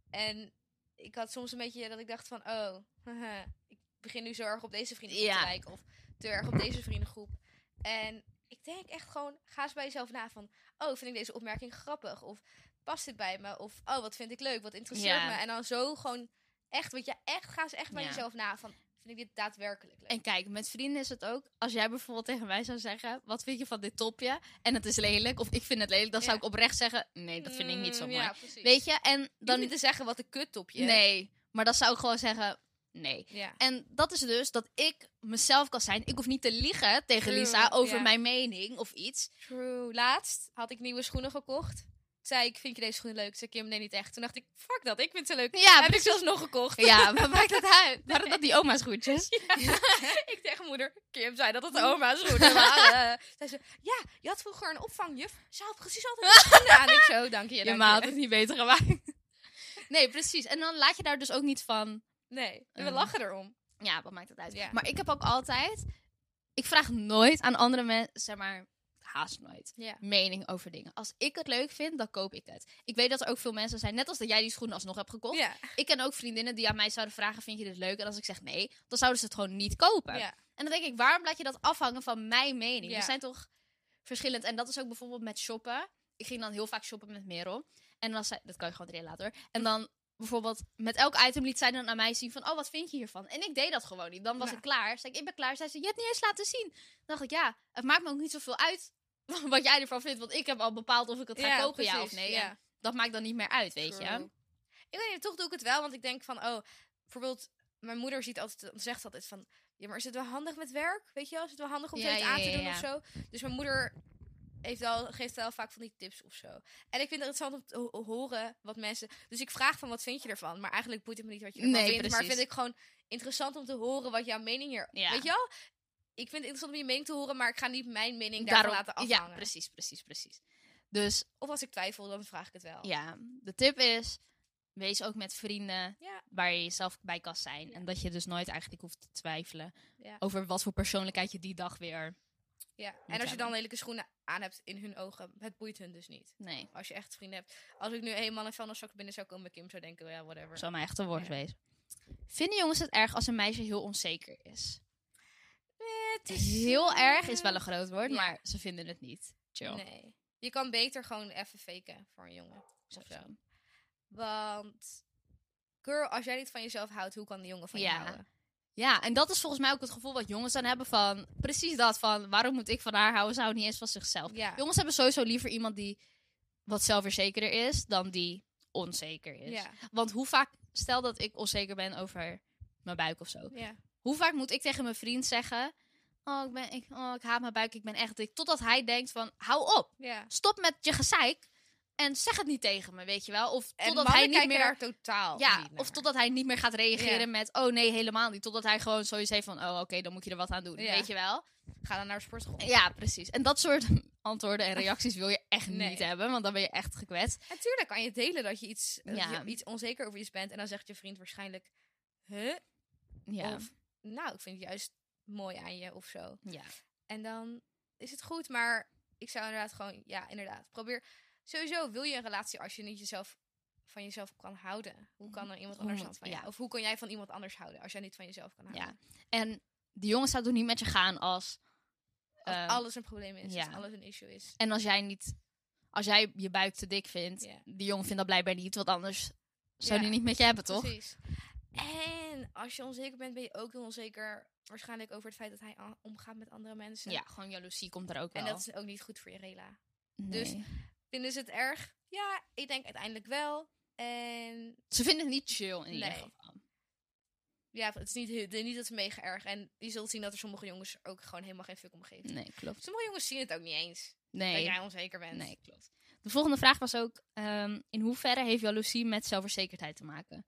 S2: En ik had soms een beetje dat ik dacht van... Oh, haha, ik begin nu zo erg op deze vriendengroep
S1: Ja.
S2: te lijken. Of te erg op deze vriendengroep. En ik denk echt gewoon... Ga eens bij jezelf na van... Oh, vind ik deze opmerking grappig? Of past dit bij me? Of oh, wat vind ik leuk? Wat interesseert
S1: Ja.
S2: me? En dan zo gewoon echt... Weet je, echt ga eens echt bij
S1: Ja.
S2: jezelf na van... Vind ik dit daadwerkelijk leuk?
S1: En kijk, met vrienden is het ook. Als jij bijvoorbeeld tegen mij zou zeggen: Wat vind je van dit topje? En het is lelijk. Of ik vind het lelijk. Dan zou
S2: Ja.
S1: ik oprecht zeggen: Nee, dat vind ik niet zo
S2: Mm,
S1: mooi.
S2: Ja, precies.
S1: Weet je? En
S2: dan
S1: dan.
S2: niet te zeggen wat een kuttopje.
S1: Nee. Maar dan zou ik gewoon zeggen: Nee.
S2: Ja.
S1: En dat is dus dat ik mezelf kan zijn. Ik hoef niet te liegen tegen
S2: True,
S1: Lisa over
S2: ja.
S1: mijn mening of iets.
S2: True. Laatst had ik nieuwe schoenen gekocht. Zei ik, vind je deze schoenen leuk? Zei Kim, nee, niet echt. Toen dacht ik, fuck dat, ik vind ze leuk.
S1: Ja,
S2: Heb ik zelfs nog gekocht.
S1: Ja, wat maakt het uit? Waren dat die oma's goedjes?
S2: ik tegen moeder, Kim zei dat het
S1: Mm.
S2: de oma's schoenen waren. zei ze, ja, je had vroeger een opvangjuf. Ze had precies altijd die schoenen aan. Ik zo, dank je, dank
S1: Je ma had het niet beter gemaakt. Nee, precies. En dan laat je daar dus ook niet van.
S2: Nee, we
S1: Mm.
S2: lachen erom.
S1: Ja, wat maakt het uit?
S2: Ja.
S1: Maar ik heb ook altijd. Ik vraag nooit aan andere mensen, zeg maar, haast nooit.
S2: Ja.
S1: Mening over dingen. Als ik het leuk vind, dan koop ik het. Ik weet dat er ook veel mensen zijn, net als dat jij die schoenen alsnog hebt gekocht.
S2: Ja.
S1: Ik ken ook vriendinnen die aan mij zouden vragen: Vind je dit leuk? En als ik zeg nee, dan zouden ze het gewoon niet kopen.
S2: ja.
S1: En dan denk ik, waarom laat je dat afhangen van mijn mening?
S2: Ja.
S1: We zijn toch verschillend. En dat is ook bijvoorbeeld met shoppen. Ik ging dan heel vaak shoppen met Merel. En dan zei, dat kan je gewoon erin laten hoor. En dan bijvoorbeeld met elk item liet zij dan aan mij zien van, oh wat vind je hiervan? En ik deed dat gewoon niet. Dan was
S2: Ja.
S1: ik klaar. Zei ik, ik ben klaar. Zei ze, je hebt niet eens laten zien. Dan dacht ik, ja, het maakt me ook niet zoveel uit wat jij ervan vindt. Want ik heb al bepaald of ik het ga
S2: Ja,
S1: kopen, ja of
S2: precies,
S1: nee.
S2: ja.
S1: En dat maakt dan niet meer uit, weet je.
S2: True. Ik weet niet, toch doe ik het wel, want ik denk van, oh, bijvoorbeeld, mijn moeder ziet altijd, zegt altijd van, ja, maar is het wel handig met werk? Weet je wel, is het wel handig om
S1: Ja,
S2: zoiets
S1: ja,
S2: aan
S1: ja,
S2: te doen
S1: ja.
S2: of zo? Dus mijn moeder heeft wel, geeft wel vaak van die tips of zo. En ik vind het interessant om te ho- horen wat mensen... Dus ik vraag van, wat vind je ervan? Maar eigenlijk boeit het me niet wat je ervan
S1: Nee,
S2: vindt. Maar
S1: precies.
S2: vind ik gewoon interessant om te horen wat jouw mening hier...
S1: Ja.
S2: Weet je wel? Ik vind het interessant om je mening te horen, maar ik ga niet mijn mening daarvan
S1: Daarom,
S2: laten
S1: ja,
S2: afhangen.
S1: precies, precies, precies. Dus
S2: of als ik twijfel, dan vraag ik het wel.
S1: Ja, de tip is, wees ook met vrienden
S2: Ja.
S1: waar je jezelf bij kan zijn.
S2: Ja.
S1: En dat je dus nooit eigenlijk hoeft te twijfelen
S2: Ja.
S1: over wat voor persoonlijkheid je die dag weer...
S2: Ja, en
S1: Niet
S2: als je dan
S1: hebben.
S2: lelijke schoenen aan hebt in hun ogen, het boeit hun dus niet.
S1: Nee,
S2: Als je echt vrienden hebt. Als ik nu eenmaal een vuilniszak binnen zou komen, Kim zou denken, ja, whatever.
S1: zou mijn echte worst
S2: Ja.
S1: wezen. Vinden jongens het erg als een meisje heel onzeker is?
S2: Het is-
S1: Heel erg is wel een groot woord,
S2: Ja.
S1: maar ze vinden het niet. Chill.
S2: Nee. Je kan beter gewoon even faken voor een jongen.
S1: Of
S2: Of zo.
S1: zo.
S2: Want, girl, als jij niet van jezelf houdt, hoe kan die jongen van je
S1: Ja.
S2: houden?
S1: Ja, en dat is volgens mij ook het gevoel wat jongens dan hebben van... Precies dat, van waarom moet ik van haar houden? Ze houdt niet eens van zichzelf.
S2: Ja.
S1: Jongens hebben sowieso liever iemand die wat zelfverzekerder is... dan die onzeker is.
S2: Ja.
S1: Want hoe vaak, stel dat ik onzeker ben over mijn buik of zo.
S2: ja.
S1: Hoe vaak moet ik tegen mijn vriend zeggen: Oh, ik, ben, ik, oh, ik haat mijn buik, ik ben echt dik. Totdat hij denkt: van, Hou op,
S2: Ja.
S1: stop met je gezeik en zeg het niet tegen me, weet je wel. Of
S2: En
S1: totdat
S2: mannen
S1: hij niet
S2: kijken
S1: meer.
S2: daar totaal
S1: ja,
S2: niet naar.
S1: of totdat hij niet meer gaat reageren
S2: Ja.
S1: met: Oh nee, helemaal niet. Totdat hij gewoon zoiets heeft van: Oh, oké, dan moet je er wat aan doen,
S2: Ja.
S1: weet je wel.
S2: Ga dan naar de sportschool.
S1: Ja, precies. En dat soort antwoorden en reacties wil je echt
S2: Nee.
S1: niet hebben, want dan ben je echt gekwetst.
S2: Natuurlijk kan je delen dat je iets, dat
S1: Ja.
S2: je iets onzeker over iets bent. En dan zegt je vriend waarschijnlijk, huh?
S1: Ja,
S2: Of, nou, ik vind het juist mooi aan je of zo.
S1: ja.
S2: En dan is het goed, maar ik zou inderdaad gewoon, ja, inderdaad. Probeer, sowieso wil je een relatie als je niet jezelf van jezelf kan houden. Hoe kan dan iemand
S1: Hoe
S2: anders
S1: moet-
S2: dat van je?
S1: ja.
S2: Of hoe kan jij van iemand anders houden als jij niet van jezelf kan
S1: ja.
S2: houden?
S1: En die jongen zou toch niet met je gaan als
S2: Als
S1: Ehm,
S2: alles een probleem is,
S1: ja.
S2: als alles een issue is.
S1: En als jij niet, als jij je buik te dik vindt,
S2: Ja.
S1: die jongen vindt dat blijkbaar niet, want anders zou
S2: Ja.
S1: die niet met je hebben, toch?
S2: Precies. En als je onzeker bent, ben je ook heel onzeker waarschijnlijk over het feit dat hij a- omgaat met andere mensen.
S1: Ja, gewoon jaloezie komt er ook wel.
S2: En dat is ook niet goed voor je rela.
S1: dus
S2: dus- Vinden ze het erg? Ja, ik denk uiteindelijk wel. En
S1: ze vinden het niet chill in ieder
S2: Nee.
S1: geval.
S2: Ja, het is niet, heel- niet dat ze mega erg. En je zult zien dat er sommige jongens er ook gewoon helemaal geen fuck om geven.
S1: Nee, klopt.
S2: Sommige jongens zien het ook niet eens. Dat
S1: Nee,
S2: jij onzeker bent.
S1: nee, klopt. De volgende vraag was ook, ehm, in hoeverre heeft jaloezie met zelfverzekerdheid te maken?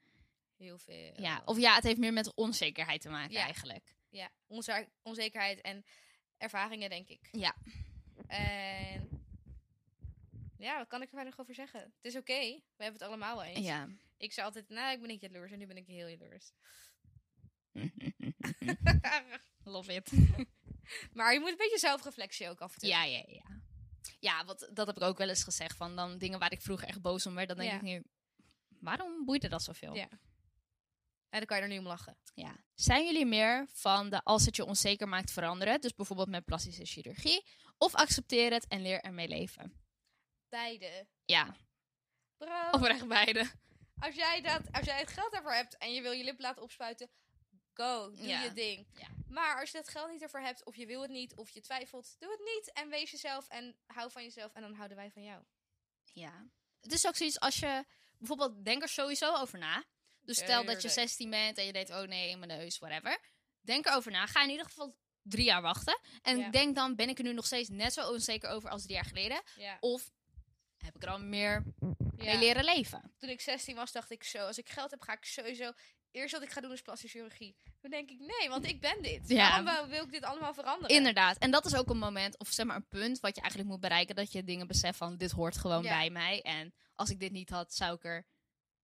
S2: Heel veel.
S1: Ja. of ja, het heeft meer met onzekerheid te maken
S2: Ja.
S1: eigenlijk.
S2: ja, onze onzekerheid en ervaringen, denk ik.
S1: Ja.
S2: En ja, wat kan ik er verder nog over zeggen? Het is oké, we hebben het allemaal wel eens.
S1: Ja.
S2: Ik zei altijd, nou, ik ben niet jaloers en nu ben ik heel jaloers.
S1: Love it.
S2: maar je moet een beetje zelfreflectie ook af en toe.
S1: Ja, ja, ja. Ja, wat, dat heb ik ook wel eens gezegd. Van dan dingen waar ik vroeger echt boos om werd, dan denk
S2: Ja.
S1: ik nu, waarom boeide dat zoveel?
S2: Ja. En Nou, dan kan je er nu om lachen.
S1: Ja. Zijn jullie meer van de als het je onzeker maakt veranderen, dus bijvoorbeeld met plastische chirurgie, of accepteer het en leer ermee leven?
S2: Beide.
S1: Ja,
S2: Bro,
S1: oprecht beide.
S2: als, jij dat, als jij het geld daarvoor hebt en je wil je lip laten opspuiten, go, doe
S1: Ja.
S2: je ding.
S1: Ja.
S2: Maar als je dat geld niet ervoor hebt, of je wil het niet, of je twijfelt, doe het niet. En wees jezelf en hou van jezelf en dan houden wij van jou.
S1: Ja. Het is ook zoiets als je bijvoorbeeld denk er sowieso over na. Dus stel dat je
S2: Tuurlijk.
S1: 16 bent en je denkt, oh nee, in mijn neus, whatever. Denk erover na. Ga in ieder geval drie jaar wachten. En
S2: Ja.
S1: denk dan, ben ik er nu nog steeds net zo onzeker over als drie jaar geleden?
S2: Ja.
S1: Of heb ik er al meer mee
S2: Ja.
S1: leren leven?
S2: Toen ik 16 was, dacht ik zo, als ik geld heb, ga ik sowieso... Eerst wat ik ga doen is plastische chirurgie. Toen denk ik, nee, want ik ben dit.
S1: Ja.
S2: Waarom wou- wil ik dit allemaal veranderen?
S1: Inderdaad. En dat is ook een moment, of zeg maar een punt, wat je eigenlijk moet bereiken. Dat je dingen beseft van, dit hoort gewoon
S2: Ja.
S1: bij mij. En als ik dit niet had, zou ik er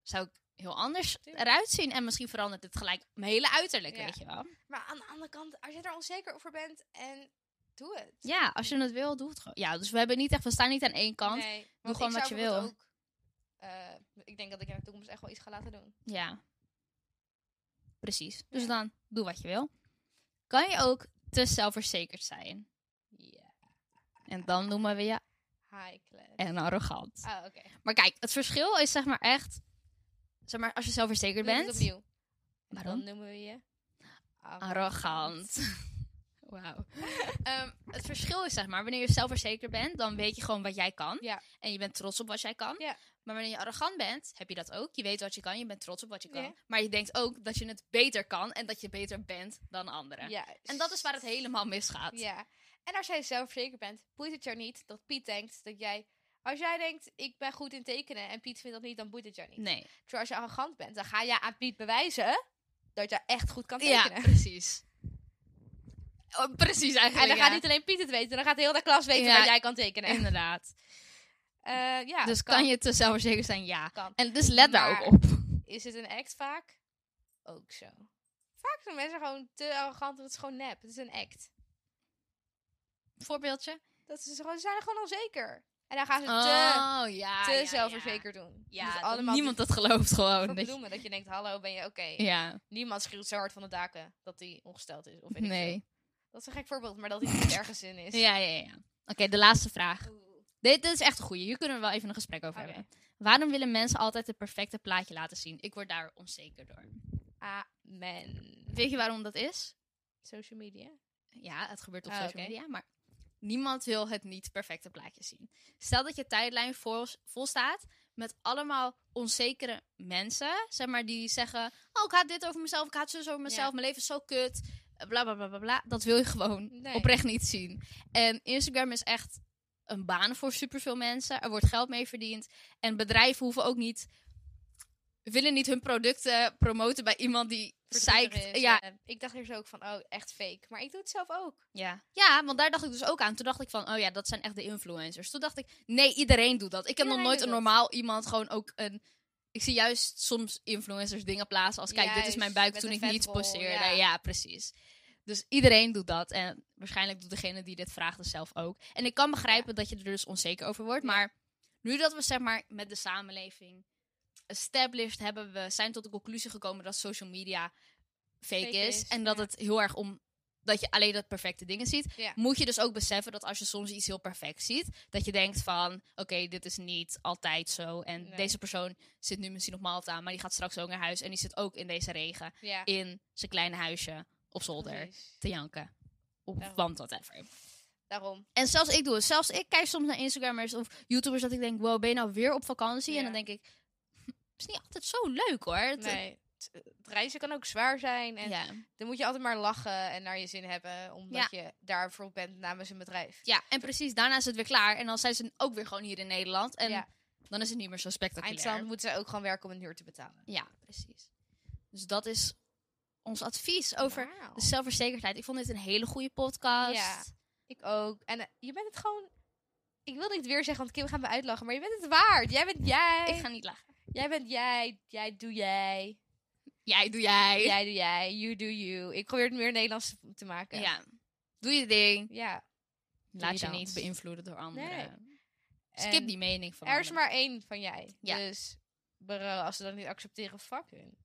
S1: zou ik heel anders
S2: Tuurlijk.
S1: eruit zien. En misschien verandert het gelijk mijn hele uiterlijk,
S2: Ja.
S1: weet je wel.
S2: Maar aan de andere kant, als je er onzeker over bent, en doe het.
S1: Ja, als je het wil, doe het gewoon. Ja, dus we hebben niet echt, we staan niet aan één kant.
S2: Nee, want
S1: Doe gewoon
S2: ik
S1: wat
S2: zou
S1: je wil.
S2: bijvoorbeeld ook, eh, ik denk dat ik in de toekomst echt wel iets ga laten doen.
S1: Ja. Precies. Dus
S2: Ja.
S1: dan doe wat je wil. Kan je ook te zelfverzekerd zijn?
S2: Ja.
S1: En dan noemen we je
S2: High class.
S1: en arrogant.
S2: Ah, oké.
S1: Maar kijk, het verschil is zeg maar echt. Zeg maar, als je zelfverzekerd
S2: Doe het
S1: bent.
S2: opnieuw. En
S1: Waarom?
S2: Dan noemen we je...
S1: Arrogant. Wauw. Ehm, het verschil is zeg maar, wanneer je zelfverzekerd bent, dan weet je gewoon wat jij kan.
S2: Ja.
S1: En je bent trots op wat jij kan.
S2: Ja.
S1: Maar wanneer je arrogant bent, heb je dat ook. Je weet wat je kan, je bent trots op wat je kan.
S2: Ja.
S1: Maar je denkt ook dat je het beter kan en dat je beter bent dan anderen.
S2: Ja.
S1: En dat is waar het helemaal misgaat.
S2: Ja. En als jij zelfverzekerd bent, boeit het jou niet dat Piet denkt dat jij... Als jij denkt, ik ben goed in tekenen en Piet vindt dat niet, dan boeit het jou niet.
S1: Nee.
S2: Terwijl als je arrogant bent, dan ga je aan Piet bewijzen dat je echt goed kan
S1: Ja,
S2: tekenen.
S1: precies. Oh, precies
S2: En
S1: eigenlijk.
S2: dan
S1: ja.
S2: gaat niet alleen Piet het weten, dan gaat heel de klas weten
S1: Ja.
S2: dat jij kan tekenen.
S1: Inderdaad.
S2: Eh, ja,
S1: dus kan je te zelfverzekerd zijn? Ja.
S2: Kan.
S1: En dus let daar
S2: Maar-
S1: ook op.
S2: Is het een act vaak? Ook zo. Vaak zijn mensen gewoon te arrogant, dat het is gewoon nep. Het is een act.
S1: Voorbeeldje?
S2: Dat is gewoon, ze zijn gewoon onzeker. En dan gaan ze te,
S1: oh, ja.
S2: te
S1: ja,
S2: zelfverzekerd doen.
S1: Ja,
S2: Dus
S1: dat
S2: allemaal
S1: niemand
S2: te
S1: dat gelooft gewoon. Dat je,
S2: verbloemen. Dat je denkt, hallo, ben je oké?
S1: ja,
S2: Niemand schreeuwt zo hard van de daken dat hij ongesteld is. Of weet ik veel.
S1: nee.
S2: Dat is een gek voorbeeld, maar dat hij niet ergens in is.
S1: Ja, ja, ja. Oké, de laatste vraag.
S2: Oeh.
S1: Dit, dit is echt een goeie. Hier kunnen we wel even een gesprek over
S2: Oké.
S1: hebben. Waarom willen mensen altijd het perfecte plaatje laten zien? Ik word daar onzeker door.
S2: Amen.
S1: Weet je waarom dat is?
S2: Social media.
S1: Ja, het gebeurt op
S2: Ah,
S1: social
S2: oké.
S1: media, maar niemand wil het niet perfecte plaatje zien. Stel dat je tijdlijn vol, vol staat met allemaal onzekere mensen, zeg maar, die zeggen: Oh, ik haat dit over mezelf, ik haat zus over mezelf,
S2: Ja.
S1: mijn leven is zo kut, bla bla bla bla bla. Dat wil je gewoon
S2: Nee.
S1: oprecht niet zien. En Instagram is echt een baan voor superveel mensen. Er wordt geld mee verdiend. En bedrijven hoeven ook niet. willen niet hun producten promoten bij iemand die
S2: Verdrietig
S1: zeikt.
S2: is.
S1: Ja,
S2: Eh, Ik dacht eerst ook van, oh, echt fake. Maar ik doe het zelf ook.
S1: ja. ja, want daar dacht ik dus ook aan. Toen dacht ik van, oh ja, dat zijn echt de influencers. Toen dacht ik, nee, iedereen doet dat. Ik heb nog
S2: Iedereen
S1: nooit
S2: doet
S1: een
S2: dat.
S1: normaal iemand gewoon ook een... Ik zie juist soms influencers dingen plaatsen als, kijk, dit is mijn
S2: Juist,
S1: buik
S2: met
S1: toen
S2: een
S1: ik niets
S2: vetbol,
S1: posteerde. Ja.
S2: ja.
S1: precies. Dus iedereen doet dat. En waarschijnlijk doet degene die dit vraagt het zelf ook. En ik kan begrijpen dat je er dus onzeker over wordt.
S2: Ja.
S1: Maar nu dat we, zeg maar, met de samenleving established hebben, we zijn tot de conclusie gekomen dat social media fake,
S2: Fake
S1: is,
S2: is,
S1: En dat
S2: ja.
S1: het heel erg om dat je alleen dat perfecte dingen ziet.
S2: Ja.
S1: Moet je dus ook beseffen dat als je soms iets heel perfect ziet, dat je denkt van, oké, dit is niet altijd zo. En
S2: Nee.
S1: deze persoon zit nu misschien op Malta, maar die gaat straks ook naar huis. En die zit ook in deze regen,
S2: Ja.
S1: in zijn kleine huisje op zolder,
S2: Precies.
S1: te janken. Of
S2: Daarom.
S1: want whatever.
S2: Daarom.
S1: En zelfs ik doe het. Zelfs ik kijk soms naar Instagrammers of YouTubers dat ik denk, wow, ben je nou weer op vakantie? En
S2: Ja.
S1: dan denk ik, het is niet altijd zo leuk hoor. Het-
S2: Nee. t- het reizen kan ook zwaar zijn. En
S1: ja.
S2: dan moet je altijd maar lachen en naar je zin hebben. Omdat je daarvoor bent namens een bedrijf.
S1: ja, en precies. Daarna is het weer klaar. En dan zijn ze ook weer gewoon hier in Nederland. En
S2: Ja.
S1: dan is het niet meer zo spectaculair.
S2: Eindstand moeten ze ook gewoon werken om een huur te betalen.
S1: Ja, precies. Dus dat is ons advies over
S2: Wauw.
S1: de zelfverzekerdheid. Ik vond dit een hele goede podcast.
S2: Ja. Ik ook. En eh, je bent het gewoon... Ik wil niet weer zeggen, want Kim gaat me uitlachen. Maar je bent het waard. Jij bent jij.
S1: Ik ga niet lachen.
S2: Jij bent jij. Jij doe jij.
S1: Jij doe jij.
S2: Jij doe jij. You do you. Ik probeer het meer Nederlands te maken.
S1: Ja. Doe je ding.
S2: Ja.
S1: Laat je
S2: dans.
S1: niet beïnvloeden door anderen.
S2: En
S1: Skip die mening van
S2: Er is
S1: anderen.
S2: maar één van jij.
S1: Ja.
S2: Dus bro, als ze dat niet accepteren, fuck hun.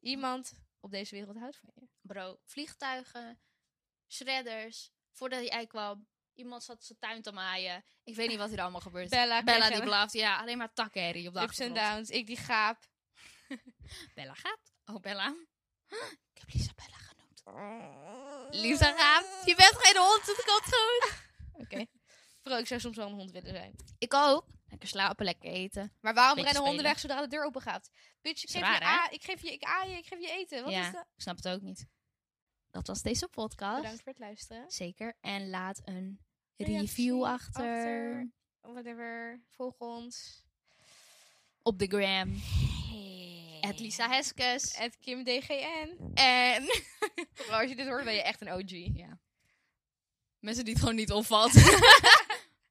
S2: Iemand op deze wereld houdt van je.
S1: Bro, vliegtuigen, shredders. Voordat jij kwam, iemand zat zijn tuin te maaien. Ik weet niet wat hier allemaal gebeurt.
S2: Bella,
S1: Bella die blaft. Ja, alleen maar takkenherrie op de
S2: Ups en
S1: achtergrond.
S2: downs. Ik die gaap.
S1: Bella gaat. Oh, Bella. Ik heb Lisa Bella genoemd. Lisa gaat. Je bent geen hond, het komt goed.
S2: Oké. Bro, ik zou soms wel een hond willen zijn.
S1: Ik ook. Lekker slapen, lekker eten.
S2: Maar waarom
S1: Beetje
S2: rennen honden
S1: spelen.
S2: weg zodra de deur open gaat? Bitch, ik
S1: Is
S2: geef,
S1: raar,
S2: je
S1: hè?
S2: a- ik geef je, ik aai je, ik geef je eten. Wat
S1: Ja.
S2: is dat?
S1: Ik snap het ook niet. Dat was deze podcast.
S2: Bedankt voor het luisteren.
S1: Zeker. En laat een
S2: Reactie
S1: review achter.
S2: achter. Whatever. Volg ons.
S1: Op de gram. Het Lisa Heskes.
S2: Het Kim DGN.
S1: En
S2: Bro, als je dit hoort, ben je echt een OG.
S1: mensen die het gewoon niet opvalt.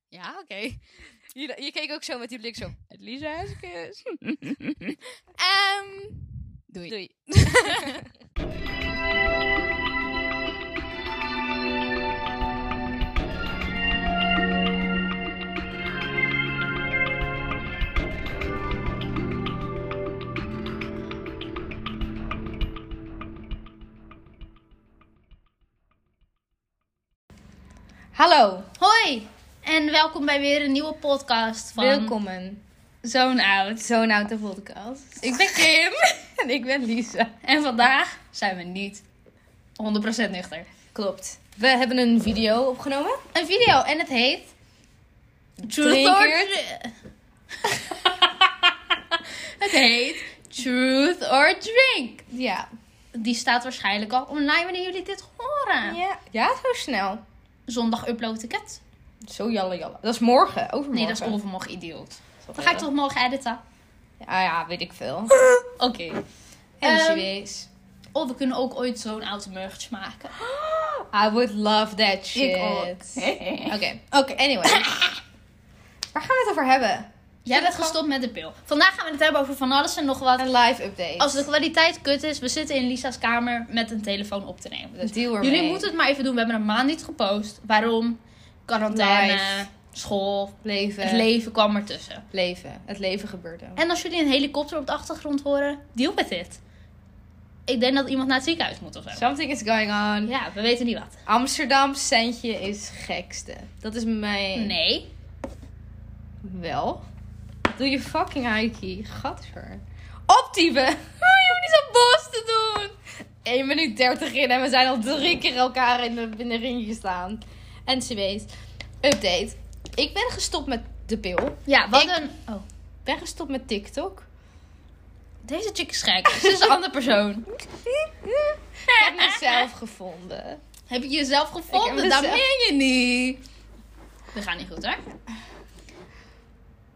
S1: ja, oké.
S2: Je, je keek ook zo met die blik zo. Het Lisa Heskes.
S1: Ehm, doei.
S2: Doei. Hallo,
S1: Hoi en welkom bij weer een nieuwe podcast van
S2: welkom.
S1: Zo'n Oud.
S2: Zo'n oude podcast.
S1: Ik ben Kim
S2: En ik ben Lisa.
S1: en vandaag zijn we niet 100% nuchter.
S2: Klopt. We hebben een video opgenomen.
S1: Een video en het heet...
S2: Drink
S1: or
S2: it.
S1: Dr- Het heet Truth or Drink.
S2: Ja.
S1: Die staat waarschijnlijk al online wanneer jullie dit horen.
S2: Ja, ja zo snel.
S1: Zondag upload ik het.
S2: Zo jalle jalle. Dat is morgen, overmorgen.
S1: Nee, dat is overmorgen idioot. Dan ga ik toch morgen editen.
S2: Ja, ja, weet ik veel.
S1: Oké.
S2: En
S1: Ehm,
S2: wees.
S1: Of we kunnen ook ooit zo'n oude merch maken.
S2: I would love that shit. Oké, oké. Anyway. Waar gaan we het over hebben?
S1: Jij bent
S2: gewoon-
S1: gestopt met de pil. Vandaag gaan we het hebben over van alles en nog wat.
S2: Een live update.
S1: Als de kwaliteit kut is, we zitten in Lisa's kamer met een telefoon op te nemen. Dus
S2: Deal ermee.
S1: jullie moeten het maar even doen. We hebben een maand niet gepost. Waarom? Quarantaine,
S2: Life.
S1: school,
S2: leven.
S1: het leven kwam ertussen.
S2: leven. Het leven gebeurde.
S1: En als jullie een helikopter op de achtergrond horen, deal with it. Ik denk dat iemand naar het ziekenhuis moet of zo.
S2: Something is going on.
S1: Ja, we weten niet wat.
S2: Amsterdam centje is gekste. Dat is mijn...
S1: Nee.
S2: Wel? Doe je fucking Aiki. Gadver. Optieven! Je moet niet zo boos te doen! 1 minuut 30 in en we zijn al drie keer elkaar in de, in de ring gestaan. En CB's. Update. Ik ben gestopt met de pil.
S1: Ja, wat
S2: Ik-
S1: een... Oh,
S2: Ben gestopt met TikTok.
S1: deze chick is gek. Ze is een andere persoon.
S2: Ik heb mezelf gevonden.
S1: Heb je jezelf gevonden?
S2: Ik heb
S1: Dat
S2: mezelf-
S1: meen je niet. We gaan niet goed, hè?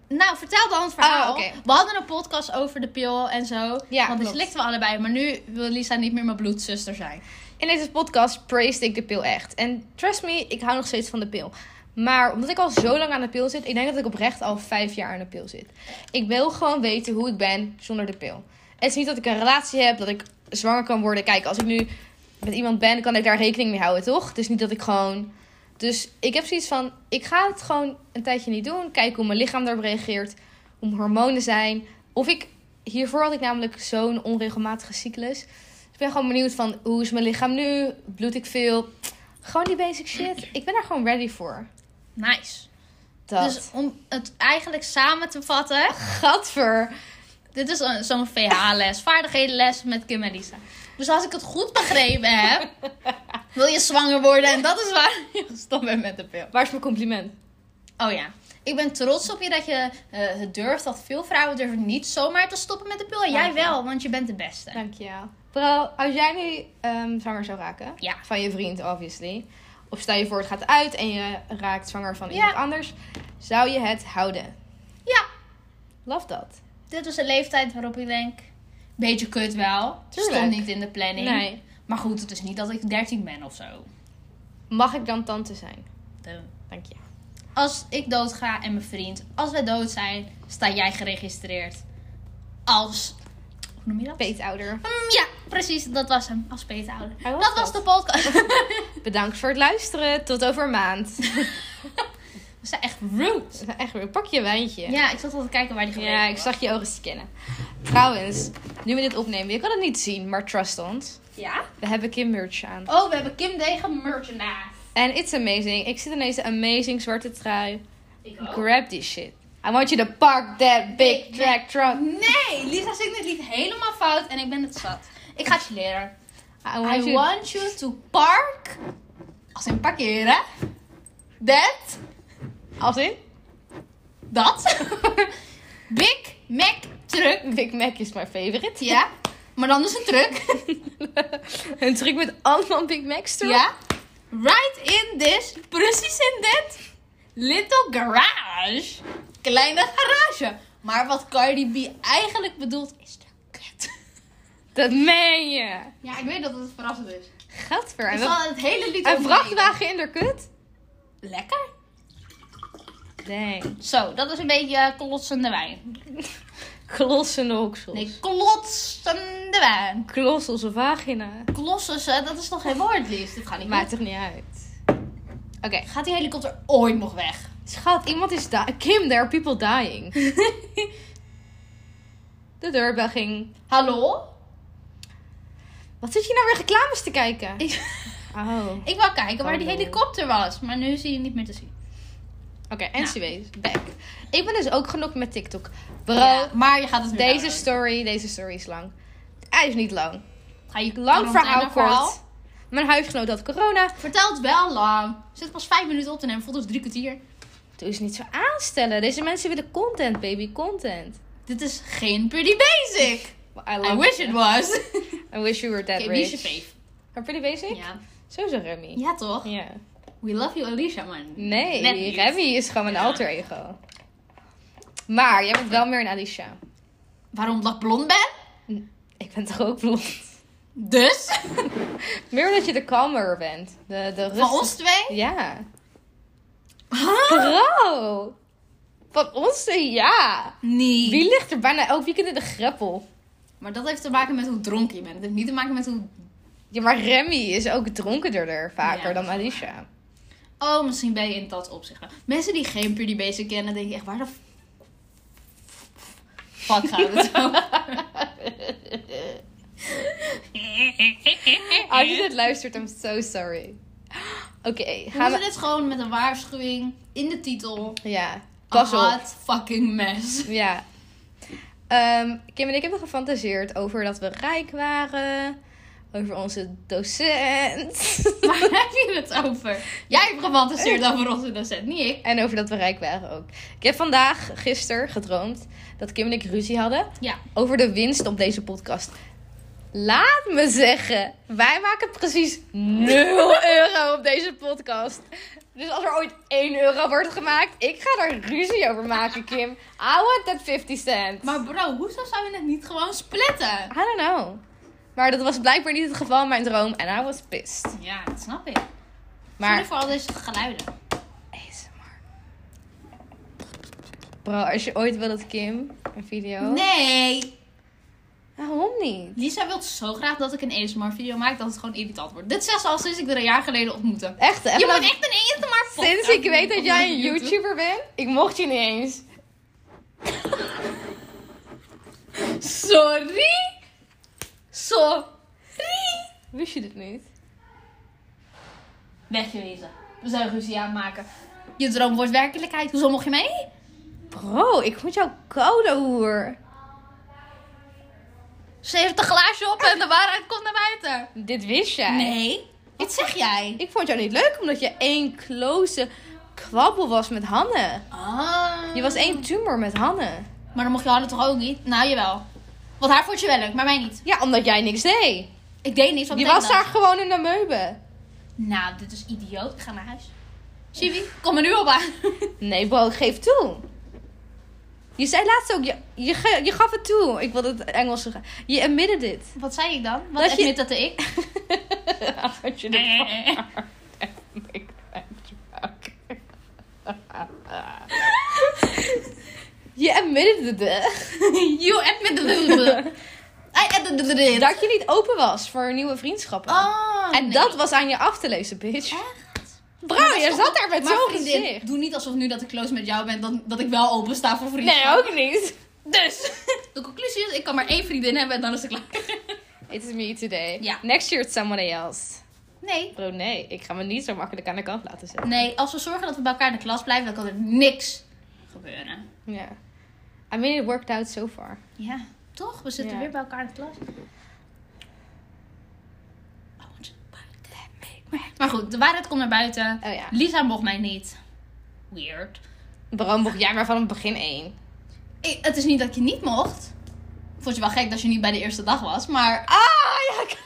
S1: Nou, vertel dan het verhaal.
S2: Ah, oké.
S1: We hadden een podcast over de pil en zo.
S2: Ja,
S1: want die
S2: klopt.
S1: slikten we allebei. Maar nu wil Lisa niet meer mijn bloedzuster zijn.
S2: In deze podcast praised ik de pil echt. En trust me, ik hou nog steeds van de pil. Maar omdat ik al zo lang aan de pil zit, ik denk dat ik oprecht al vijf jaar aan de pil zit. Ik wil gewoon weten hoe ik ben zonder de pil. Het is niet dat ik een relatie heb, dat ik zwanger kan worden. Kijk, als ik nu met iemand ben, kan ik daar rekening mee houden, toch? Het is niet dat ik gewoon. Dus ik heb zoiets van: ik ga het gewoon een tijdje niet doen. Kijken hoe mijn lichaam daarop reageert. Hoe mijn hormonen zijn. Of ik. Hiervoor had ik namelijk zo'n onregelmatige cyclus. Dus ik ben gewoon benieuwd van hoe is mijn lichaam nu? Bloed ik veel? Gewoon die basic shit. Ik ben daar gewoon ready voor.
S1: Nice.
S2: Dat.
S1: Dus om het eigenlijk samen te vatten.
S2: Gadver.
S1: Dit is een- zo'n VH-les. Vaardighedenles met Kim en Lisa. Dus als ik het goed begrepen heb. wil je zwanger worden. En dat is waar je gestopt bent met de pil.
S2: Waar is mijn compliment?
S1: Oh ja. Ik ben trots op je dat je eh, het durft. Dat veel vrouwen durven niet zomaar te stoppen met de pil. En jij
S2: Dank je.
S1: wel, want je bent de beste.
S2: Dankjewel. Vooral als jij nu ehm, zwanger zou raken.
S1: Ja.
S2: Van je vriend, obviously. Of stel je voor het gaat uit en je raakt zwanger van
S1: Ja.
S2: iemand anders. Zou je het houden?
S1: Ja,
S2: Love dat.
S1: dit was een leeftijd waarop ik denk... Beetje kut wel.
S2: Tuurlijk.
S1: Stond niet in de planning. Maar goed, het is niet dat ik 13 ben of zo.
S2: Mag ik dan tante zijn?
S1: De-
S2: Dank je.
S1: Als ik doodga en mijn vriend, als wij dood zijn, sta jij geregistreerd. Als. Hoe noem je dat?
S2: Peetouder.
S1: Mm, ja, precies, dat was hem. Als peetouder.
S2: Hij
S1: Dat,
S2: was
S1: dat was
S2: dat.
S1: de podcast.
S2: Bedankt voor het luisteren. Tot over een maand.
S1: We zijn echt rude.
S2: Echt weer. Pak je wijntje.
S1: Ja, ik zat al te kijken waar die gebleven
S2: Ja, ik
S1: was.
S2: zag je ogen scannen. Trouwens, nu we dit opnemen, je kan het niet zien, maar trust ons.
S1: Ja?
S2: We hebben Kim merch aan.
S1: Oh, we hebben Kim Degen merchandise.
S2: En it's amazing. Ik zit in deze amazing zwarte trui.
S1: Ik ook.
S2: Grab this shit. I want you to park that big track truck.
S1: Nee, Lisa zingt dit lied helemaal fout en ik ben het zat. Ik ga het je leren.
S2: I
S1: I
S2: want you...
S1: want you to park. Als in parkeren. That.
S2: Als in?
S1: Dat. Big Mac truck.
S2: Big Mac is my favorite.
S1: Ja, maar dan dus een truck.
S2: een truc met allemaal Big Macs erop.
S1: Ja. Right in this, precies in dit, little garage. Kleine garage. Maar wat Cardi B eigenlijk bedoelt is de kut.
S2: Dat meen je.
S1: Ja, ik weet dat het verrassend is.
S2: Gadver.
S1: Ik
S2: En,
S1: zal
S2: wat...
S1: het hele lied
S2: en
S1: overnemen.
S2: vrachtwagen in de kut?
S1: Lekker.
S2: Dang.
S1: Zo, dat is een beetje eh, klotsende wijn.
S2: Klossende hoksels.
S1: Nee, klotsende wijn.
S2: Klosselse vagina.
S1: Klossen ze, dat is toch geen woord, liefst. Dit gaat niet
S2: Maakt
S1: maar
S2: toch niet uit. Oké.
S1: Gaat die helikopter ooit nog weg?
S2: Schat, iemand is dying. Kim, there are people dying. de deurbel ging.
S1: Hallo?
S2: Wat zit je nou weer reclames te kijken? Oh. Oké,
S1: Ik wou kijken waar die
S2: Hallo.
S1: helikopter was, maar nu zie je niet meer te zien. Nou.
S2: anyways, back. Ik ben dus ook genoeg met TikTok. Bro,
S1: Ja, maar je gaat het weer
S2: deze
S1: downloaden.
S2: story, deze story is lang. Hij is niet lang.
S1: Ga je
S2: Lang verhaal
S1: quarantaine
S2: kort. Mijn huisgenoot had corona.
S1: Vertel het wel lang. Zit pas vijf minuten op te nemen, voelt als drie kwartier.
S2: Doe eens niet zo aanstellen. Deze mensen willen content, baby, content.
S1: Dit is geen pretty basic.
S2: I,
S1: I
S2: love
S1: wish it was. Oké,
S2: I wish you were that
S1: wie is je
S2: rich.
S1: fave?
S2: Maar pretty basic?
S1: Ja.
S2: Sowieso Remy.
S1: ja, toch?
S2: Ja.
S1: We love you, Alicia, man.
S2: Nee,
S1: Net niet.
S2: Remy is gewoon mijn alter ego. Maar jij bent wel meer een Alicia.
S1: Waarom dat ik blond ben?
S2: Ik ben toch ook blond?
S1: Dus?
S2: Meer omdat je de kalmer bent. De, de
S1: Van
S2: rustig-
S1: ons twee?
S2: Ja.
S1: Huh?
S2: Bro! Van ons twee, ja!
S1: Nee.
S2: Wie ligt er bijna elk weekend in de greppel?
S1: Maar dat heeft te maken met hoe dronken je bent. Het heeft niet te maken met hoe...
S2: Ja, maar Remy is ook dronkenderder vaker
S1: Ja.
S2: dan Alicia.
S1: Oh, misschien ben je in dat opzicht. wel. Mensen die geen pretty basic kennen, denken echt, waar de... f- Fuck gaat het over?
S2: Als je dit luistert, I'm so sorry. Oké,
S1: We
S2: gaan
S1: moeten
S2: we...
S1: dit gewoon met een waarschuwing in de titel.
S2: Ja,
S1: Pas
S2: pas op.
S1: fucking mess.
S2: Ja. Ehm, Kim en ik hebben gefantaseerd over dat we rijk waren. Over onze docent.
S1: Waar heb je het over? Jij hebt gefantaseerd
S2: Eh.
S1: over onze docent, niet ik.
S2: en over dat we rijk waren ook. Ik heb vandaag, gisteren, gedroomd dat Kim en ik ruzie hadden
S1: Ja.
S2: over de winst op deze podcast. Laat me zeggen, wij maken precies 0 euro op deze podcast. Dus als er ooit 1 euro wordt gemaakt, ik ga daar ruzie over maken, Kim. I want that 50 cent.
S1: Maar bro, hoezo zou je het niet gewoon splitten?
S2: I don't know. Maar dat was blijkbaar niet het geval in mijn droom. En I was pissed.
S1: Ja, dat snap ik. Maar...
S2: Maar...
S1: voor al deze geluiden.
S2: ASMR. Bro, als je ooit wil dat Kim een video... Ah,
S1: Nee!
S2: Waarom niet?
S1: Lisa wil zo graag dat ik een ASMR-video maak dat het gewoon irritant wordt. Dit zegt ze al sinds ik er een jaar geleden ontmoette.
S2: Echt, hè?
S1: Je
S2: Vanaf-
S1: moet echt een ASMR
S2: Sinds ik weet dat jij een YouTuber bent, ik mocht je niet eens.
S1: Sorry! Sorry!
S2: Wist je dit niet?
S1: Weggewezen. We zijn ruzie aanmaken. Je droom wordt werkelijkheid. Hoezo mocht je mee?
S2: Bro, ik vond jou koude hoer.
S1: 70 glaasje op en de waarheid komt naar buiten.
S2: Dit wist jij.
S1: Nee. Wat zeg jij?
S2: Ik vond jou niet leuk omdat je één close kwabbel was met Hanne.
S1: Ah.
S2: Je was één tumor met Hanne.
S1: Maar dan mocht je Hanne toch ook niet? Nou, jawel. Want haar vond je wel leuk, maar mij niet.
S2: Ja, omdat jij niks deed.
S1: Ik deed niks. want
S2: Je
S1: ik
S2: was
S1: dacht,
S2: daar gewoon in de meuben.
S1: Nou, dit is idioot. Ik ga naar huis. Chibi, kom er nu op aan.
S2: Nee, bro, geef toe. Je zei laatst ook, je, je, ge- je gaf het toe. Ik wilde het Engels zeggen. Je admitted it.
S1: Wat zei ik dan?
S2: Dat
S1: Wat
S2: je-
S1: admit dat ik?
S2: Had je Je admitted it.
S1: you admit the I admit the
S2: Dat je niet open was voor nieuwe vriendschappen.
S1: Oh,
S2: en
S1: nee.
S2: dat was aan je af te lezen, bitch.
S1: Echt?
S2: Bro, je
S1: Maar
S2: zat daar met
S1: Maar
S2: zo'n
S1: vriendin,
S2: gezicht.
S1: doe niet alsof nu dat ik close met jou ben, dat, dat ik wel open sta voor vrienden.
S2: Nee, ook niet.
S1: Dus, de conclusie is, ik kan maar één vriendin hebben en dan is het klaar.
S2: It is me today.
S1: Ja.
S2: Next year it's someone else.
S1: Nee.
S2: Bro, nee. Ik ga me niet zo makkelijk aan de kant laten zetten.
S1: Nee, als we zorgen dat we bij elkaar in de klas blijven, dan kan er niks gebeuren.
S2: Ja. I mean, it worked out so far.
S1: Ja, toch? We zitten
S2: Ja.
S1: weer bij elkaar in de klas. I want to buy that. Maar goed, de waarheid komt naar buiten.
S2: Oh ja.
S1: Lisa mocht mij niet. Weird.
S2: Bro, mocht jij maar van het begin één.
S1: Ik- het is niet dat ik je niet mocht. Ik Vond je wel gek dat je niet bij de eerste dag was, maar...
S2: Ah, ja. ik-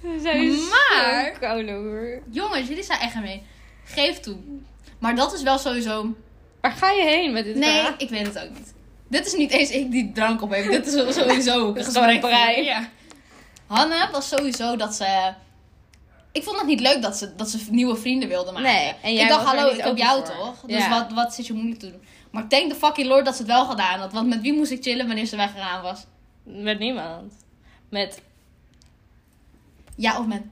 S2: We zijn
S1: Maar-
S2: zo koude, hoor.
S1: Jongens, jullie zijn echt ermee. Geef toe. Maar dat is wel sowieso...
S2: Waar ga je heen met dit
S1: Nee,
S2: verhaal?
S1: ik weet het ook niet. Dit is niet eens ik die drank op heb. Dit is wel sowieso een
S2: is
S1: gesprek.
S2: gewoon een brei.
S1: Ja. Hanne was sowieso dat ze... Ik vond het niet leuk dat ze, dat ze nieuwe vrienden wilde maken.
S2: Nee, en jij
S1: ik dacht,
S2: was er
S1: hallo,
S2: niet
S1: ik heb
S2: open
S1: jou
S2: voor.
S1: toch? Dus
S2: Ja.
S1: wat, wat zit je moeilijk te doen? Maar thank the fucking lord dat ze het wel gedaan had. Want met wie moest ik chillen wanneer ze weggegaan was?
S2: Met niemand. Met,
S1: Ja, of met...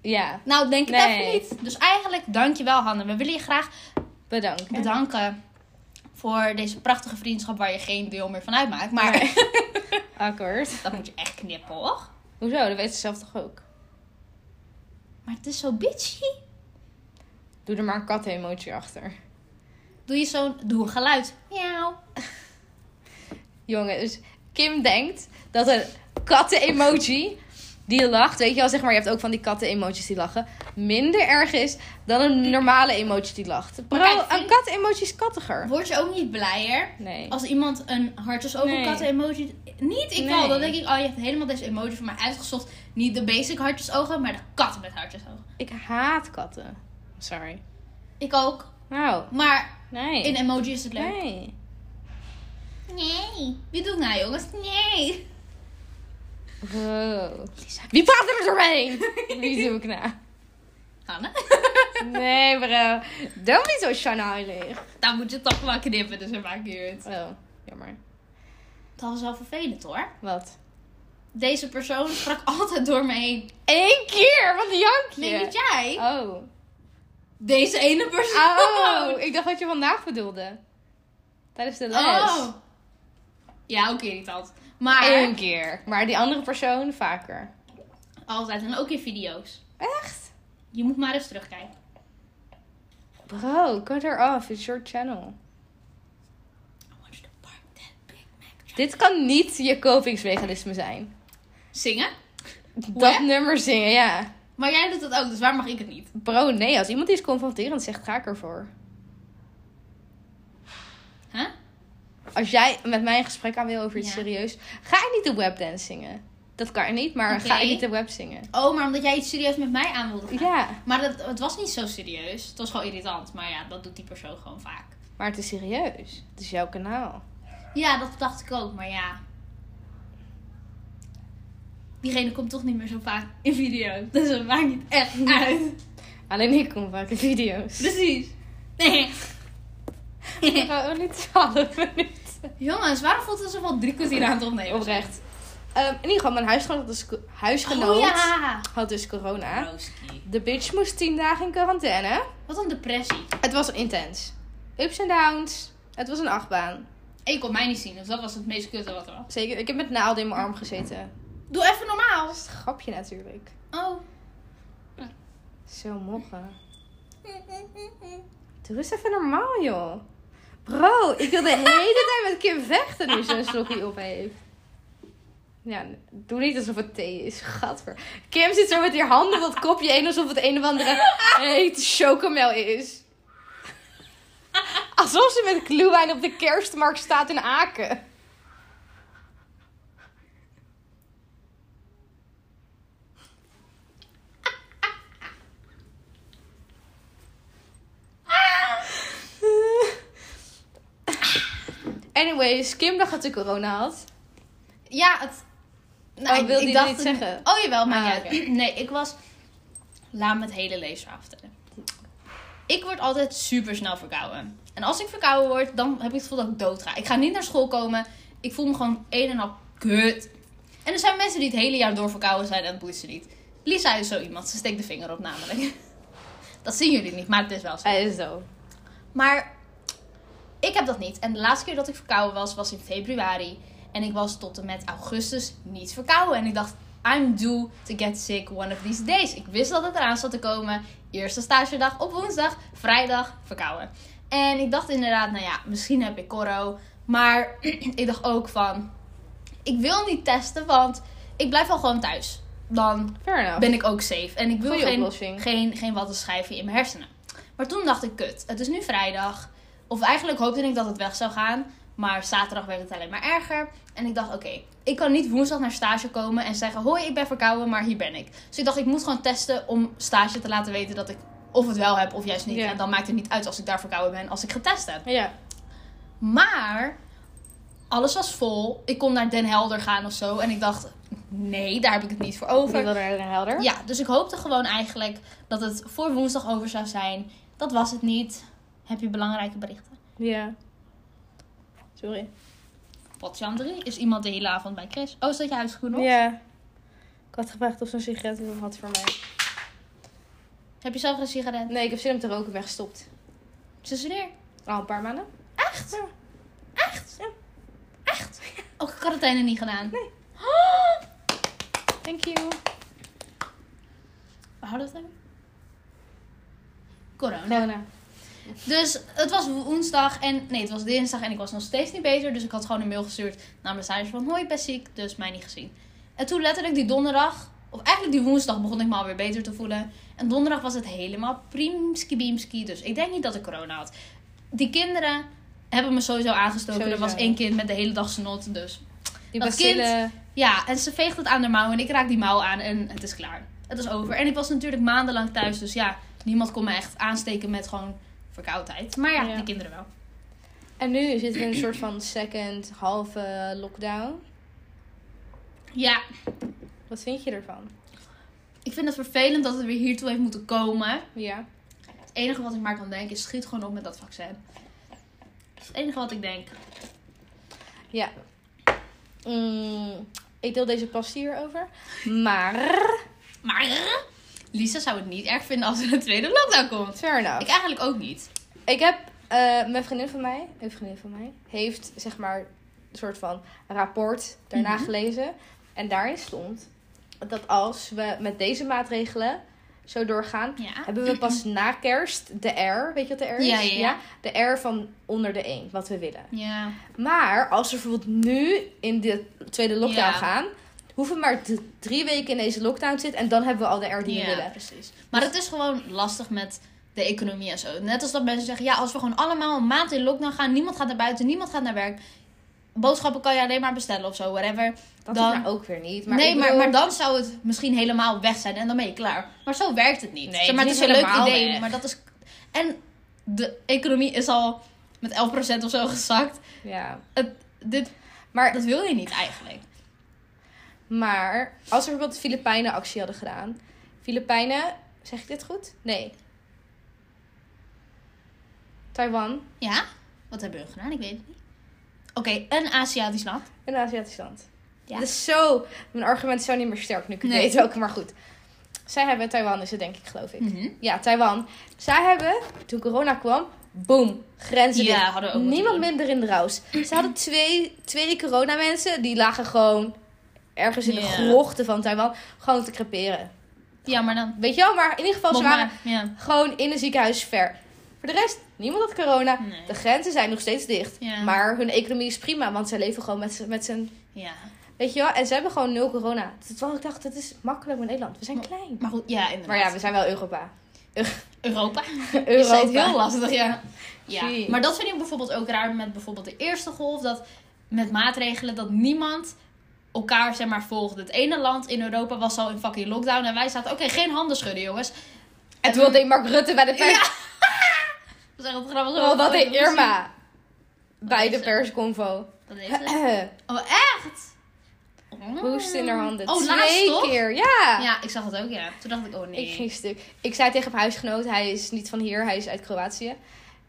S2: ja,
S1: Nou, denk ik
S2: Nee.
S1: even niet. Dus eigenlijk, dankjewel Hanne. We willen je graag
S2: bedankt. hè.
S1: bedanken voor deze prachtige vriendschap waar je geen deel meer van uitmaakt. Maar
S2: Akkoord.
S1: dat moet je echt knippen, hoor.
S2: Hoezo? Dat weet ze zelf toch ook?
S1: Maar het is zo bitchy.
S2: Doe er maar een kat-emoji achter.
S1: Doe je zo'n... Doe een geluid. Miauw.
S2: Jongens, dus Kim denkt dat een katten-emoji die lacht, weet je wel, zeg maar, je hebt ook van die katten-emojis die lachen, minder erg is dan een normale emoji die lacht. Bro,
S1: Maar kijk,
S2: een
S1: vind-
S2: kat-emoji is kattiger.
S1: Word je ook niet blijer
S2: Nee.
S1: als iemand een hartjes over
S2: Nee.
S1: katten emoji... Niet, ik wel.
S2: Nee.
S1: Dan denk ik, oh, je hebt helemaal deze emoji voor mij uitgezocht. Niet de basic hartjes ogen, maar de katten met hartjes ogen.
S2: Ik haat katten. Sorry.
S1: Ik ook.
S2: Nou,
S1: Maar
S2: nee.
S1: in emoji is het leuk.
S2: nee.
S1: Nee. Wie doet nou, jongens? Nee.
S2: Wow. Wie praat er doorheen? Wie doe ik nou?
S1: Hanne?
S2: Nee, bro. Don't be zo chanalig.
S1: Daar moet je toch wel knippen, dus we maken hier het.
S2: Oh, jammer.
S1: Dat was wel vervelend hoor.
S2: Wat?
S1: Deze persoon sprak altijd door me heen.
S2: Eén keer! Wat een jankje!
S1: Nee, niet jij.
S2: Oh.
S1: Deze ene persoon.
S2: Oh, ik dacht wat je vandaag bedoelde. Tijdens de les.
S1: Oh. Ja, ook irritant. Maar
S2: Eén keer. Maar die andere persoon vaker.
S1: altijd. En ook in video's.
S2: Echt?
S1: Je moet maar eens terugkijken.
S2: Bro, cut her off. It's your channel.
S1: I want you to park that Big Mac.
S2: Dit kan niet je kopingsmechanisme zijn.
S1: Zingen?
S2: Dat
S1: Hè?
S2: nummer zingen, ja.
S1: Maar jij doet dat ook, dus waar mag ik het niet?
S2: Bro, nee. Als iemand iets confronterend zegt, ga ik ervoor.
S1: Huh?
S2: Als jij met mij een gesprek aan wil over
S1: Ja.
S2: iets serieus, ga ik niet de webdance zingen. Dat kan niet, maar
S1: Oké.
S2: ga ik niet de web zingen.
S1: Oh, maar omdat jij iets serieus met mij aan wilde gaan.
S2: Ja,
S1: Maar dat, het was niet zo serieus. Het was gewoon irritant. Maar ja, dat doet die persoon gewoon vaak.
S2: maar het is serieus. Het is jouw kanaal.
S1: Ja, dat dacht ik ook, maar ja. Diegene komt toch niet meer zo vaak in video. Dus het maakt niet echt uit.
S2: Alleen ik kom vaak in video's.
S1: Precies. Nee.
S2: Oh, niet 12 minuten.
S1: Jongens, waarom voelt het alsof we al drie kwartier aan het opnemen? zijn?
S2: Oprecht. Ehm, in ieder geval, mijn huisgenoot had dus, huisgenoot
S1: Oh ja.
S2: had dus corona.
S1: Rooskie.
S2: De bitch moest 10 dagen in quarantaine.
S1: Wat een depressie.
S2: Het was intens. Ups en downs. Het was een achtbaan.
S1: En je kon mij niet zien, dus dat was het meest kutte wat er was.
S2: Zeker, ik heb met naalden in mijn arm gezeten.
S1: Doe even normaal.
S2: Dat is een grapje natuurlijk.
S1: Oh.
S2: Zo mogen. Doe eens even normaal, joh. Bro, ik wil de hele tijd met Kim vechten nu ze een slokje op heeft. Ja, doe niet alsof het thee is. Gadver. Kim zit zo met haar handen op dat kopje heen alsof het een of andere hete chocomel is. Alsof ze met gluwijn op de kerstmarkt staat in Aken. Anyways, Kim dacht dat ze corona had.
S1: Ja, het... Nou,
S2: Oh, wilde je niet zeggen?
S1: Oh, jawel, maar
S2: Ah,
S1: ja. Nee, ik was... Laat me het hele leesverhaal vertellen. Ik word altijd super snel verkouden. En als ik verkouden word, dan heb ik het gevoel dat ik dood ga. Ik ga niet naar school komen. Ik voel me gewoon een en al kut. En er zijn mensen die het hele jaar door verkouden zijn en het boeit ze niet. Lisa is zo iemand. Ze steekt de vinger op namelijk. Dat zien jullie niet, maar het is wel zo.
S2: Hij is zo.
S1: Maar ik heb dat niet. En de laatste keer dat ik verkouden was, was in februari. En ik was tot en met augustus niet verkouden. En ik dacht, I'm due to get sick one of these days. Ik wist dat het eraan zat te komen. Eerste stagedag op woensdag, vrijdag verkouden. En ik dacht inderdaad, nou ja, misschien heb ik corro. Maar ik dacht ook van, ik wil niet testen, want ik blijf wel gewoon thuis. Dan
S2: Fair enough.
S1: ben ik ook safe. En ik wil
S2: Goeie
S1: geen,
S2: oplossing.
S1: geen, geen wattenschijfje in mijn hersenen. Maar toen dacht ik, kut, het is nu vrijdag. Of eigenlijk hoopte ik dat het weg zou gaan. Maar zaterdag werd het alleen maar erger. En ik dacht, oké, ik kan niet woensdag naar stage komen en zeggen... Hoi, ik ben verkouden, maar hier ben ik. Dus ik dacht, ik moet gewoon testen om stage te laten weten dat ik of het wel heb of juist niet.
S2: Ja.
S1: En dan maakt het niet uit als ik daar verkouden ben als ik getest heb.
S2: Ja.
S1: Maar alles was vol. Ik kon naar Den Helder gaan of zo. En ik dacht, nee, daar heb ik het niet voor
S2: Over.
S1: over.
S2: Die wilde naar Den Helder.
S1: Ja, dus ik hoopte gewoon eigenlijk dat het voor woensdag over zou zijn. Dat was het niet. Heb je belangrijke berichten?
S2: Ja. Sorry.
S1: Wat Chandri? Is iemand de hele avond bij Chris? Oh, is dat je huisschoen op?
S2: Ja. Ik had gevraagd of ze een sigaret nog had voor mij.
S1: Heb je zelf een sigaret?
S2: Nee, ik heb zin om te roken weggestopt.
S1: Tussen neer.
S2: Al een paar maanden.
S1: Echt?
S2: Ja.
S1: Echt?
S2: Ja.
S1: Echt? Ook quarantaine niet gedaan?
S2: Nee.
S1: Oh,
S2: Thank you.
S1: we houden we het even? Corona.
S2: Corona.
S1: Dus het was woensdag en nee, het was dinsdag en ik was nog steeds niet beter. Dus ik had gewoon een mail gestuurd naar mijn stage van hoi, ik ben ziek, dus mij niet gezien. En toen letterlijk die donderdag, of eigenlijk die woensdag begon ik me alweer beter te voelen. En donderdag was het helemaal primski biemski, dus ik denk niet dat ik corona had. Die kinderen hebben me sowieso aangestoken.
S2: Sowieso.
S1: Er was één kind met de hele dag snot, dus
S2: Die
S1: Dat
S2: bacillen.
S1: ja, en ze veegt het aan haar mouw en ik raak die mouw aan en het is klaar. Het is over. En ik was natuurlijk maandenlang thuis, dus ja, niemand kon me echt aansteken met gewoon verkoudheid. Maar ja,
S2: Ja.
S1: die kinderen wel.
S2: En nu zitten we in een soort van second halve lockdown.
S1: Ja,
S2: Wat vind je ervan?
S1: ik vind het vervelend dat het weer hiertoe heeft moeten komen.
S2: Ja.
S1: Het enige wat ik maar kan denken is schiet gewoon op met dat vaccin. Dat is het enige wat ik denk.
S2: Ja. Mm, ik deel deze pas hierover. Maar.
S1: Maar Lisa zou het niet erg vinden als er een tweede lockdown komt.
S2: Fair enough.
S1: Ik eigenlijk ook niet.
S2: Ik heb eh, mijn vriendin van mij, een vriendin van mij, heeft zeg maar een soort van rapport daarna
S1: Mhm.
S2: gelezen. En daarin stond dat als we met deze maatregelen zo doorgaan,
S1: Ja.
S2: hebben we pas na kerst de R, weet je wat de R is?
S1: Ja, ja, ja.
S2: De R van onder de 1, wat we willen.
S1: Ja.
S2: Maar als we bijvoorbeeld nu in de tweede lockdown
S1: Ja.
S2: gaan, hoeven we maar d- drie weken in deze lockdown te zitten en dan hebben we al de R die we
S1: Ja,
S2: willen.
S1: precies. Maar het is gewoon lastig met de economie en zo. Net als dat mensen zeggen, ja, als we gewoon allemaal een maand in lockdown gaan, niemand gaat naar buiten, niemand gaat naar werk. Boodschappen kan je alleen maar bestellen of zo, whatever.
S2: Dat
S1: Dan-
S2: is nou ook weer niet. Maar
S1: nee,
S2: ik
S1: maar,
S2: bedoel-
S1: maar dan zou het misschien helemaal weg zijn en dan ben je klaar. Maar zo werkt het niet.
S2: Nee,
S1: zeg maar,
S2: het is
S1: het is
S2: niet
S1: een leuk
S2: helemaal
S1: idee,
S2: weg.
S1: maar dat is... En de economie is al met 11% of zo gezakt.
S2: Ja.
S1: Dit,
S2: Maar
S1: dat wil je niet eigenlijk.
S2: Maar als we bijvoorbeeld de Filipijnen actie hadden gedaan. Filipijnen, zeg ik dit goed? Nee. Taiwan,
S1: Ja? Wat hebben hun gedaan? Ik weet het niet. Oké, een Aziatisch land.
S2: een Aziatisch land.
S1: Ja.
S2: Ja. Dus zo, mijn argument is zo niet meer sterk nu ik het
S1: Nee.
S2: weet welke, maar goed. Zij hebben, Taiwan is het denk ik, geloof ik.
S1: Mhm.
S2: Ja, Taiwan. Zij hebben, toen corona kwam, boom, grenzen
S1: Ja,
S2: dicht.
S1: hadden we ook moeten
S2: Niemand
S1: doen.
S2: minder in de raus. Ze hadden twee, twee coronamensen, die lagen gewoon ergens in
S1: Ja.
S2: de grochten van Taiwan, gewoon te creperen.
S1: Ja, maar dan...
S2: Weet je wel, maar in ieder geval, ze
S1: Mocht
S2: waren
S1: maar, ja.
S2: Gewoon in een ziekenhuis ver. Voor de rest, niemand had corona.
S1: Nee.
S2: De grenzen zijn nog steeds dicht.
S1: Ja.
S2: Maar hun economie is prima, want zij leven gewoon met, z'n- met z'n
S1: Ja.
S2: Weet je wel? En ze hebben gewoon nul corona. Terwijl ik dacht, het is makkelijk met Nederland. We zijn klein.
S1: Maar goed, ja, inderdaad.
S2: Maar ja, we zijn wel Europa.
S1: Europa. Is
S2: Europa.
S1: het heel lastig, ja. ja.
S2: Zie.
S1: Maar dat vind ik bijvoorbeeld ook raar met bijvoorbeeld de eerste golf. Dat met maatregelen dat niemand elkaar zeg maar volgde. Het ene land in Europa was al in fucking lockdown. En wij zaten, oké, geen handen schudden jongens.
S2: En toen deed Mark Rutte bij de pers.
S1: Ja. Dat is echt grappig.
S2: Terwijl dat deed
S1: Precies.
S2: Oh, Irma bij
S1: is
S2: de
S1: er?
S2: persconvo.
S1: Dat deed ze. Oh, echt? Oh.
S2: Hoest in haar handen.
S1: Oh, laatst
S2: Twee
S1: toch?
S2: keer, ja.
S1: Ja, ik zag het ook, ja. Toen dacht ik, oh nee.
S2: Ik ging stuk. Ik zei tegen mijn huisgenoot, hij is niet van hier, hij is uit Kroatië.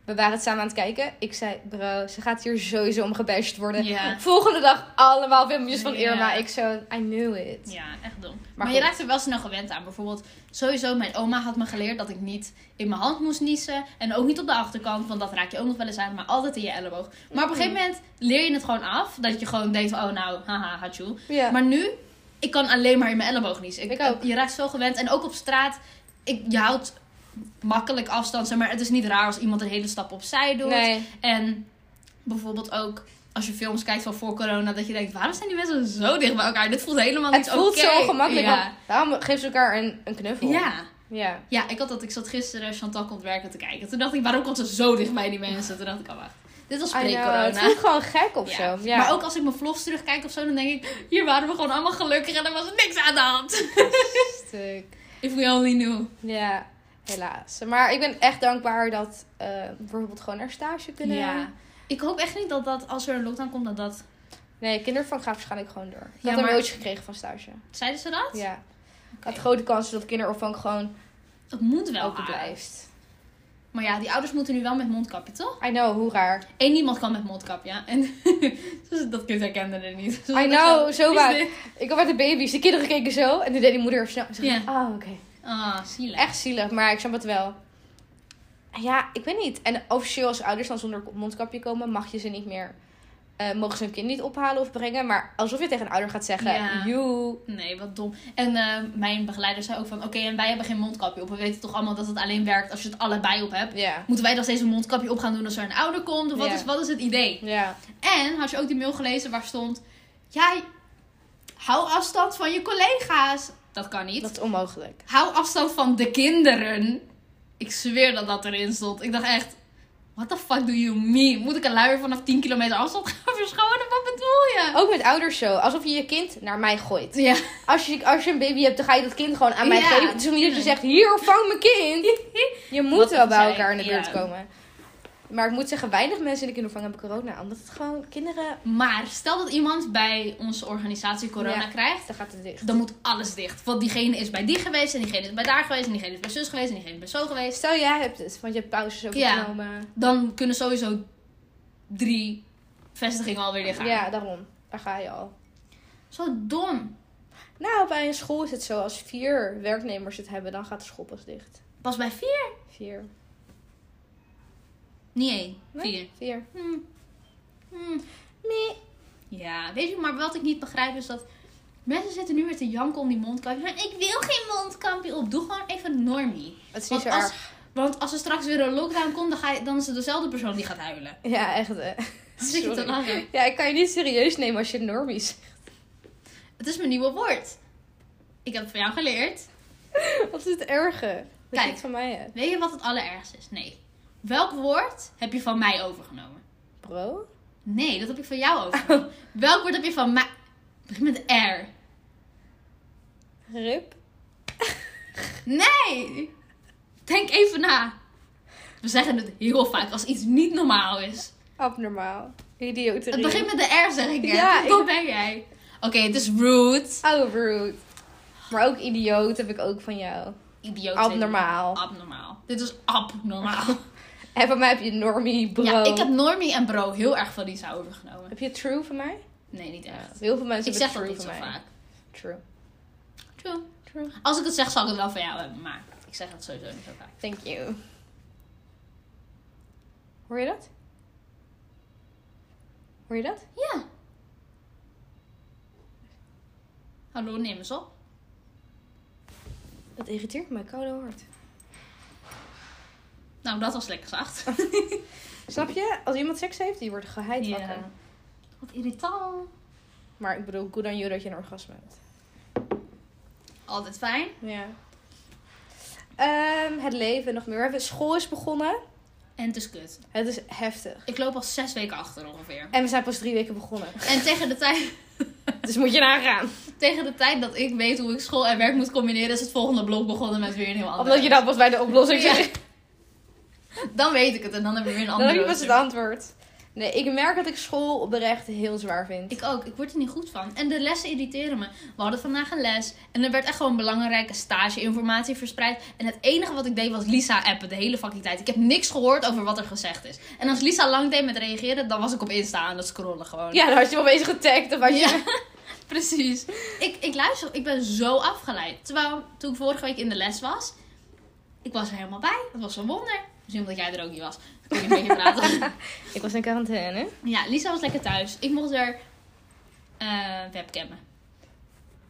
S2: We waren het samen aan het kijken. Ik zei, bro, ze gaat hier sowieso om gebashed worden.
S1: Ja.
S2: Volgende dag allemaal filmpjes van
S1: Ja.
S2: Irma. Ik zo, I knew it.
S1: Ja, echt dom. Maar,
S2: Maar
S1: je
S2: goed.
S1: raakt er wel snel gewend aan. Bijvoorbeeld, sowieso, mijn oma had me geleerd dat ik niet in mijn hand moest niezen. En ook niet op de achterkant, want dat raak je ook nog wel eens aan. Maar altijd in je elleboog. Maar op een gegeven moment leer je het gewoon af. Dat je gewoon denkt, van, oh nou, haha, hachu.
S2: Ja.
S1: Maar nu, ik kan alleen maar in mijn elleboog niezen.
S2: Ik ook.
S1: Je raakt zo gewend. En ook op straat, ik, je houdt makkelijk afstand. zeg Maar het is niet raar als iemand een hele stap opzij doet.
S2: nee.
S1: En bijvoorbeeld ook als je films kijkt van voor corona, dat je denkt, waarom zijn die mensen zo dicht bij elkaar? Dit voelt helemaal
S2: Het
S1: niet
S2: voelt
S1: oké.
S2: zo ongemakkelijk.
S1: Ja.
S2: want Waarom geven ze elkaar een, een knuffel?
S1: ja.
S2: Ja.
S1: Ja, ik had dat. Ik zat gisteren Chantal komt werken te kijken. Toen dacht ik, waarom komt ze zo dicht bij die mensen? Toen dacht ik, oh wacht, dit was
S2: I know. Het
S1: pre-corona.
S2: voelt gewoon gek of
S1: Ja.
S2: zo. Ja.
S1: Maar ook als ik mijn vlogs terugkijk of zo, dan denk ik, hier waren we gewoon allemaal gelukkig en er was niks aan de hand.
S2: stuk.
S1: If we only knew.
S2: Ja, helaas. Maar ik ben echt dankbaar dat eh, bijvoorbeeld gewoon naar stage kunnen.
S1: Ja. Ik hoop echt niet dat dat, als er een lockdown komt, dat dat...
S2: Nee, kindervang gaat waarschijnlijk gewoon door. Ik
S1: Ja,
S2: had een
S1: maar-
S2: mailtje gekregen van stage.
S1: Zeiden ze dat?
S2: Ja. Ik had grote kans dat kinderopvang gewoon
S1: Dat moet wel.
S2: open
S1: maar.
S2: blijft.
S1: Maar ja, die ouders moeten nu wel met mondkapje, toch?
S2: I know, hoe raar.
S1: Eén iemand kan met mondkap, ja. En dus dat kind herkende er niet. Dus
S2: I
S1: ik dacht,
S2: know, zo
S1: wie is
S2: waar.
S1: dit?
S2: Ik had bij de baby's, de kinderen keken zo. En toen deed die moeder even snel. Ze zei,
S1: Ja.
S2: Oh, oké.
S1: Ah, zielig.
S2: Echt zielig, maar ik snap het wel. Ja, ik weet niet. En officieel als ouders dan zonder mondkapje komen, mag je ze niet meer... eh, mogen ze hun kind niet ophalen of brengen. Maar alsof je tegen een ouder gaat zeggen...
S1: Ja.
S2: You,
S1: Nee, wat dom. En eh, mijn begeleider zei ook van, oké, en wij hebben geen mondkapje op. We weten toch allemaal dat het alleen werkt als je het allebei op hebt.
S2: Ja.
S1: Moeten wij dan steeds een mondkapje op gaan doen als er een ouder komt? Of wat,
S2: Ja.
S1: is, wat is het idee?
S2: Ja.
S1: En had je ook die mail gelezen waar stond, jij hou afstand van je collega's. Dat kan niet.
S2: Dat is onmogelijk.
S1: Hou afstand van de kinderen. Ik zweer dat dat erin stond. Ik dacht echt, what the fuck do you mean? Moet ik een luier vanaf 10 kilometer afstand gaan verschonen? Wat bedoel je?
S2: Ook met ouders zo. Alsof je je kind naar mij gooit.
S1: Ja,
S2: Als je, als je een baby hebt, dan ga je dat kind gewoon aan mij
S1: Ja.
S2: geven. Het is ook niet dat je zegt, hier, vang mijn kind. Je moet
S1: Wat
S2: wel bij
S1: zei-
S2: elkaar in de buurt
S1: ja.
S2: komen. Maar ik moet zeggen, weinig mensen in de kinderopvang hebben corona. Omdat het gewoon kinderen...
S1: maar stel dat iemand bij onze organisatie corona
S2: Ja.
S1: krijgt.
S2: Dan gaat het dicht.
S1: Dan moet alles dicht. Want diegene is bij die geweest, en diegene is bij daar geweest, en diegene is bij zus geweest, en diegene is bij zo geweest.
S2: Stel, jij hebt het. Want je hebt pauzes overgenomen.
S1: Dan kunnen sowieso drie vestigingen alweer dicht
S2: Ja,
S1: gaan.
S2: daarom. Daar ga je al.
S1: Zo dom.
S2: Nou, bij een school is het zo. Als vier werknemers het hebben, dan gaat de school pas dicht.
S1: Pas bij vier?
S2: Vier.
S1: Nee, één.
S2: Nee?
S1: Vier.
S2: Vier.
S1: Hm. Hm.
S2: Nee.
S1: Ja, weet je, maar wat ik niet begrijp is dat mensen zitten nu weer te janken om die mondkapjes. Maar ik wil geen mondkapje op. Doe gewoon even een normie.
S2: Het is niet
S1: Want
S2: zo
S1: als,
S2: erg.
S1: want als er straks weer een lockdown komt, dan, ga je, dan is het dezelfde persoon die gaat huilen.
S2: Ja, echt. eh.
S1: Dan zit je te
S2: Sorry.
S1: lachen.
S2: Ja, ik kan je niet serieus nemen als je normies.
S1: Het is mijn nieuwe woord. Ik heb het van jou geleerd.
S2: Wat is het erge? Dat
S1: Kijk.
S2: je het van mij hebt.
S1: Weet je wat het allerergste is? Nee. Welk woord heb je van mij overgenomen?
S2: Bro?
S1: Nee, dat heb ik van jou overgenomen. Welk woord heb je van mij... Het begint met R.
S2: Rip?
S1: Nee! Denk even na. We zeggen het heel vaak als iets niet normaal is.
S2: Abnormaal. Idioterie.
S1: Het begint met de R, zeg ik. net.
S2: Ja,
S1: Hoe
S2: ik-
S1: ben jij? Oké, het is rude.
S2: Oh, rude. Maar ook idioot heb ik ook van jou.
S1: Idioot.
S2: Abnormaal.
S1: Abnormaal. Dit is abnormaal.
S2: En van mij heb je normie, bro.
S1: Ja, ik heb Normie en Bro heel erg van Lisa overgenomen.
S2: Heb je true van mij?
S1: Nee, niet echt.
S2: Heel veel mensen
S1: Ik zeg dat
S2: hebben
S1: niet
S2: true
S1: zo
S2: van mij.
S1: vaak.
S2: True.
S1: True.
S2: True.
S1: Als ik het zeg, zal ik het wel van jou hebben, maar ik zeg dat sowieso niet zo vaak.
S2: Thank you. Hoor je dat? Hoor je dat?
S1: Ja. Hallo, neem eens op.
S2: Dat irriteert me koude hart.
S1: Nou, dat was lekker zacht.
S2: Snap je? Als iemand seks heeft, die wordt geheid
S1: Ja.
S2: wakker.
S1: Wat irritant.
S2: Maar ik bedoel, good on you dat je een orgasme hebt.
S1: Altijd fijn.
S2: Ja. Ehm, het leven nog meer. We hebben- School is begonnen.
S1: En het is kut.
S2: Het is heftig.
S1: Ik loop al zes weken achter ongeveer.
S2: En we zijn pas drie weken begonnen.
S1: En tegen de, tijd,
S2: Dus moet je nagaan.
S1: tegen de tijd dat ik weet hoe ik school en werk moet combineren, is het volgende blok begonnen met weer een heel ander.
S2: Omdat je dat pas bij de oplossing
S1: Ja.
S2: zegt.
S1: Dan weet ik het en dan hebben we weer een
S2: Dan
S1: andere.
S2: heb je pas het
S1: rooster.
S2: antwoord. Nee, ik merk dat ik school oprecht heel zwaar vind.
S1: Ik ook, ik word er niet goed van. En de lessen irriteren me. We hadden vandaag een les en er werd echt gewoon belangrijke stageinformatie verspreid. En het enige wat ik deed was Lisa appen de hele fucking tijd. Ik heb niks gehoord over wat er gezegd is. En als Lisa lang deed met reageren, dan was ik op Insta aan het scrollen gewoon.
S2: Ja, dan had je wel bezig getagd. Of had je...
S1: Ja, precies. Ik, ik luister, ik ben zo afgeleid. Terwijl toen ik vorige week in de les was, ik was er helemaal bij. Het was een wonder. Misschien omdat jij er ook niet was. Dan kon je een beetje praten.
S2: Ik was in quarantaine.
S1: Ja, Lisa was lekker thuis. Ik mocht er eh webcammen.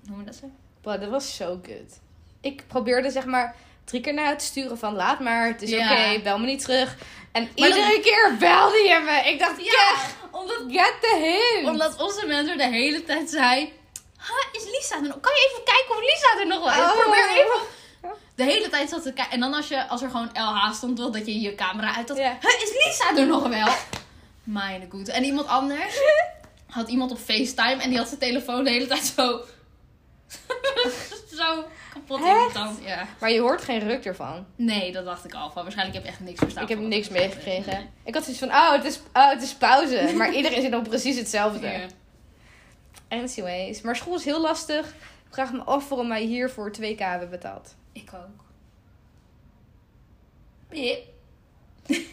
S1: Hoe Noem je dat zo?
S2: Boah, dat was zo kut. Ik probeerde zeg maar drie keer naar het sturen van laat maar. Het is
S1: Ja.
S2: oké, bel me niet terug. En
S1: dan-
S2: iedere keer belde je me. Ik dacht,
S1: Ja,
S2: ja,
S1: omdat,
S2: get the hint.
S1: omdat onze mentor de hele tijd zei... "Ha, Is Lisa er nog? Kan je even kijken of Lisa er nog wel is?
S2: Oh.
S1: Probeer even. De hele tijd zat te kijken. En dan als, je, als er gewoon LH stond, wel dat je je camera uit had.
S2: Ja.
S1: "Huh, Is Lisa er nog wel? Mijn goed. En iemand anders had iemand op FaceTime en die had zijn telefoon de hele tijd zo... zo kapot in de
S2: Echt?
S1: tand. Ja.
S2: Maar je hoort geen ruk ervan.
S1: Nee, dat dacht ik al van. Waarschijnlijk heb ik echt niks verstaan.
S2: ik heb
S1: van wat
S2: niks
S1: er gebeurde.
S2: meegekregen. Ik had zoiets van, oh het, is, oh, het is pauze. Maar iedereen zit dan precies hetzelfde.
S1: Nee. Ja.
S2: Anyways, maar school is heel lastig. Ik vraag me af waarom wij hiervoor 2k hebben betaald.
S1: Ik ook. Pip.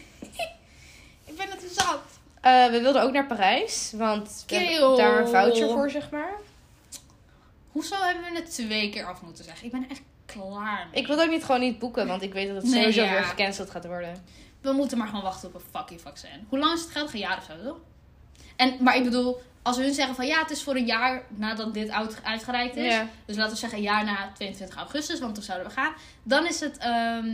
S1: ik ben het zat.
S2: Eh, we wilden ook naar Parijs, want we
S1: Kill.
S2: hebben daar een voucher voor, zeg maar.
S1: Hoezo hebben we het twee keer af moeten zeggen? Ik ben er echt klaar mee.
S2: Ik wil het ook niet gewoon niet boeken, want ik weet dat het
S1: Nee,
S2: sowieso
S1: ja.
S2: weer gecanceld gaat worden.
S1: We moeten maar gewoon wachten op een fucking vaccin. Hoe lang is het geldig? Een jaar of zo, toch? En, maar ik bedoel, als we hun zeggen van ja, het is voor een jaar nadat dit oud- uitgereikt is.
S2: Ja.
S1: Dus laten we zeggen een jaar na 22 augustus, want toen zouden we gaan. Dan is het ehm,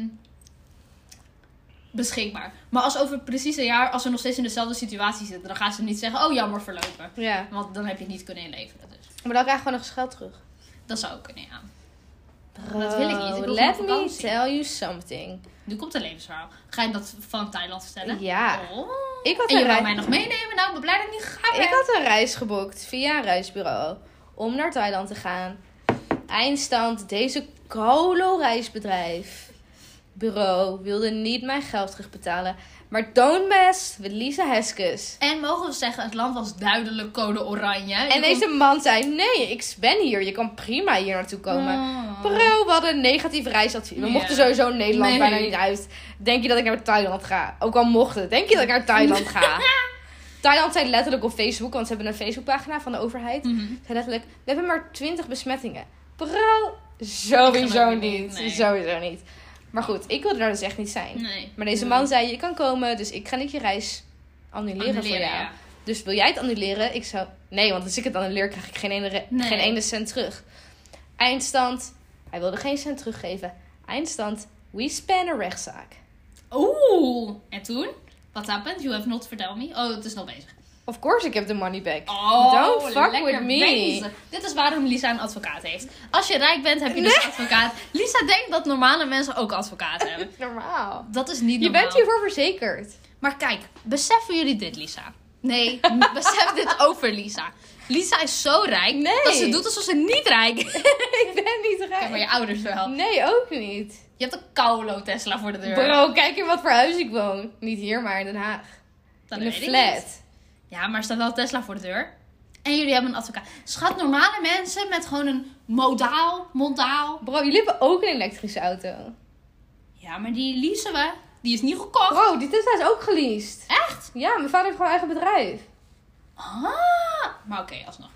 S1: beschikbaar. Maar als over precies een jaar, als we nog steeds in dezelfde situatie zitten, dan gaan ze niet zeggen, oh jammer verlopen.
S2: ja.
S1: Want dan heb je het niet kunnen inleveren. Dus
S2: Maar dan krijg ik gewoon nog geld terug.
S1: dat zou ook kunnen, ja. dat wil ik niet. Ik wil
S2: let
S1: gewoon
S2: me
S1: vakantie.
S2: tell you something.
S1: Nu komt een levensverhaal. Ga je dat van Thailand vertellen?
S2: Ja.
S1: Oh.
S2: Ik had,
S1: En je
S2: een
S1: wou
S2: rei-
S1: mij nog meenemen? Nou, ik ben blij dat ik niet gegaan ben.
S2: ik had een reis geboekt via een reisbureau om naar Thailand te gaan. Eindstand, deze colo-reisbedrijf. Bureau wilde niet mijn geld terugbetalen. Maar don't mess with Lisa Heskes.
S1: En mogen we zeggen, het land was duidelijk code oranje. Je
S2: En deze man zei: Nee, ik ben hier. Je kan prima hier naartoe
S1: kon-
S2: komen.
S1: Oh.
S2: Bro, we hadden een negatief reisadvies. We
S1: Ja.
S2: mochten sowieso Nederland
S1: Nee.
S2: bijna niet uit. Denk je dat ik naar Thailand ga? Ook al mocht het. Denk je dat ik naar Thailand ga? Thailand zei letterlijk op Facebook, want ze hebben een Facebookpagina van de overheid.
S1: Mhm.
S2: Zei letterlijk, we hebben maar 20 besmettingen. Bro, sowieso
S1: geloof
S2: niet.
S1: niet, nee.
S2: Sowieso niet. Maar goed, ik wilde daar dus echt niet zijn.
S1: Nee.
S2: Maar deze
S1: Nee.
S2: man zei, je kan komen, dus ik ga niet je reis annuleren, voor jou.
S1: ja.
S2: Dus wil jij het annuleren? Ik zou. Nee, want als ik het annuleer, krijg ik geen ene, re-
S1: Nee.
S2: geen ene cent terug. Eindstand. Hij wilde geen cent teruggeven. Eindstand. We spannen rechtszaak.
S1: Oeh. En toen? What happened? You have not verteld me. Oh, het is nog bezig.
S2: Of course, ik heb de money back.
S1: Oh,
S2: Don't fuck
S1: lekker
S2: with me.
S1: bezig. Dit is waarom Lisa een advocaat heeft. Als je rijk bent, heb je dus een advocaat. Lisa denkt dat normale mensen ook advocaten hebben.
S2: Normaal.
S1: Dat is niet
S2: Je
S1: normaal.
S2: bent hiervoor verzekerd.
S1: Maar kijk, beseffen jullie dit, Lisa? Nee, besef dit over Lisa. Lisa is zo rijk
S2: Nee.
S1: dat ze doet alsof ze niet rijk is.
S2: ik ben niet
S1: Ja, maar
S2: rijk.
S1: je ouders wel.
S2: Nee, ook niet.
S1: Je hebt een Kaulo Tesla voor de deur.
S2: Bro, kijk in wat voor huis ik woon. Niet hier, maar in Den Haag.
S1: Dat
S2: in een
S1: weet ik niet.
S2: flat.
S1: Ja, maar er staat wel Tesla voor de deur. En jullie hebben een advocaat. Schat, normale mensen met gewoon een modaal, mondaal.
S2: Bro, jullie hebben ook een elektrische auto.
S1: Ja, maar die leasen we. Die is niet gekocht.
S2: Bro, die Tesla is ook geleased.
S1: Echt?
S2: Ja, mijn vader heeft gewoon eigen bedrijf.
S1: Ah. Maar oké, alsnog.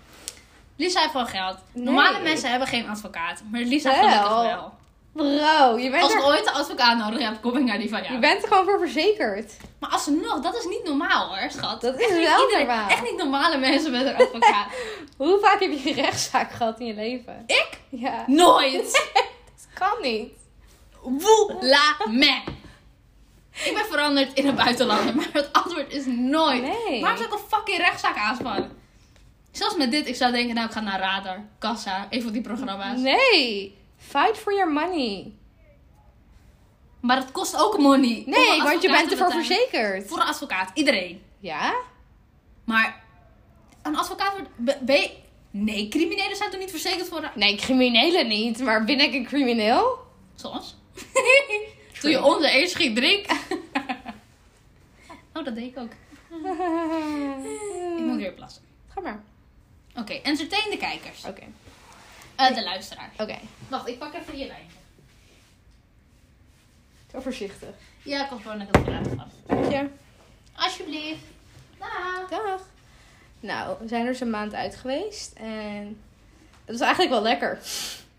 S1: Lisa heeft wel geld. Normale
S2: Nee.
S1: mensen hebben geen advocaat. Maar Lisa
S2: Wel.
S1: gelukkig wel.
S2: Bro, je bent,
S1: Als
S2: er,
S1: ik ooit een advocaat nodig heb, kom ik naar die van
S2: je
S1: jou.
S2: bent er gewoon voor verzekerd.
S1: Maar alsnog, dat is niet normaal hoor, schat.
S2: Dat is wel
S1: Iedereen-
S2: normaal.
S1: Echt niet normale mensen met een advocaat.
S2: Hoe vaak heb je een rechtszaak gehad in je leven?
S1: ik?
S2: Ja,
S1: Nooit.
S2: dat kan niet.
S1: Woe la me. Ik ben veranderd in een buitenlander, maar het antwoord is nooit.
S2: Nee.
S1: Waarom zou ik een fucking rechtszaak aanspannen? Zelfs met dit, ik zou denken, nou, ik ga naar Radar, Kassa, een van die programma's.
S2: Nee. Fight for your money.
S1: Maar dat kost ook money. om
S2: Nee,
S1: een
S2: want je
S1: advocaat
S2: bent
S1: te
S2: ervoor
S1: betalen.
S2: verzekerd.
S1: Voor een advocaat, iedereen.
S2: Ja?
S1: Maar een advocaat wordt. be- ben je- Nee, criminelen zijn toch niet verzekerd voor. een-
S2: Nee, criminelen niet. Maar ben ik een crimineel?
S1: Soms. Toen je onder eens ging drinken. oh, dat deed ik ook. Ik moet weer plassen.
S2: Ga maar.
S1: Oké, entertain de kijkers.
S2: Oké.
S1: Eh, de luisteraar.
S2: Oké.
S1: Wacht, ik pak even je lijntje.
S2: Zo voorzichtig.
S1: Ja, ik was gewoon lekker het raam af.
S2: Dank je.
S1: Alsjeblieft. Daag.
S2: Dag. Nou, we zijn er eens een maand uit geweest. En het was eigenlijk wel lekker.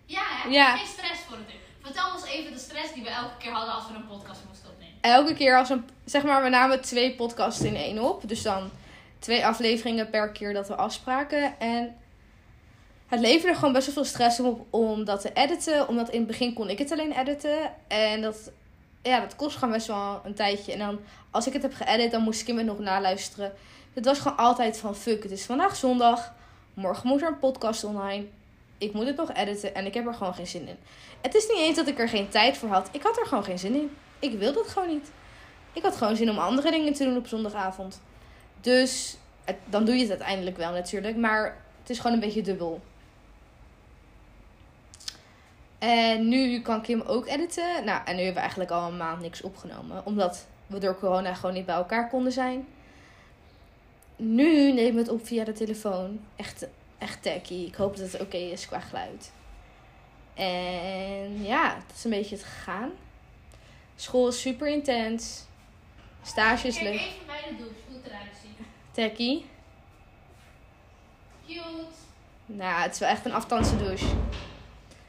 S1: Ja, hè?
S2: Ja.
S1: Geen stress voor het ding. Vertel ons even de stress die we elke keer hadden als we een podcast moesten opnemen.
S2: Elke keer als een... Zeg maar, we namen twee podcasts in één op. Dus dan twee afleveringen per keer dat we afspraken. En het leverde gewoon best wel veel stress op om dat te editen. Omdat in het begin kon ik het alleen editen. En dat, ja, dat kost gewoon best wel een tijdje. En dan, als ik het heb geëdit, dan moest ik het nog naluisteren. Het was gewoon altijd van, fuck, het is vandaag zondag. Morgen moet er een podcast online. Ik moet het nog editen en ik heb er gewoon geen zin in. Het is niet eens dat ik er geen tijd voor had. Ik had er gewoon geen zin in. Ik wilde het gewoon niet. Ik had gewoon zin om andere dingen te doen op zondagavond. Dus het- dan doe je het uiteindelijk wel natuurlijk. Maar het is gewoon een beetje dubbel. En nu kan Kim ook editen. Nou, en nu hebben we eigenlijk al een maand niks opgenomen. Omdat we door corona gewoon niet bij elkaar konden zijn. Nu nemen we het op via de telefoon. Echt, echt tacky. Ik hoop dat het oké is qua geluid. En ja, dat is een beetje het gegaan. School is super intens. Stage is
S1: Kijk
S2: leuk.
S1: even bij de doek, hoe het eruit ziet.
S2: Tacky.
S1: Cute,
S2: Nou, het is wel echt een aftansen douche.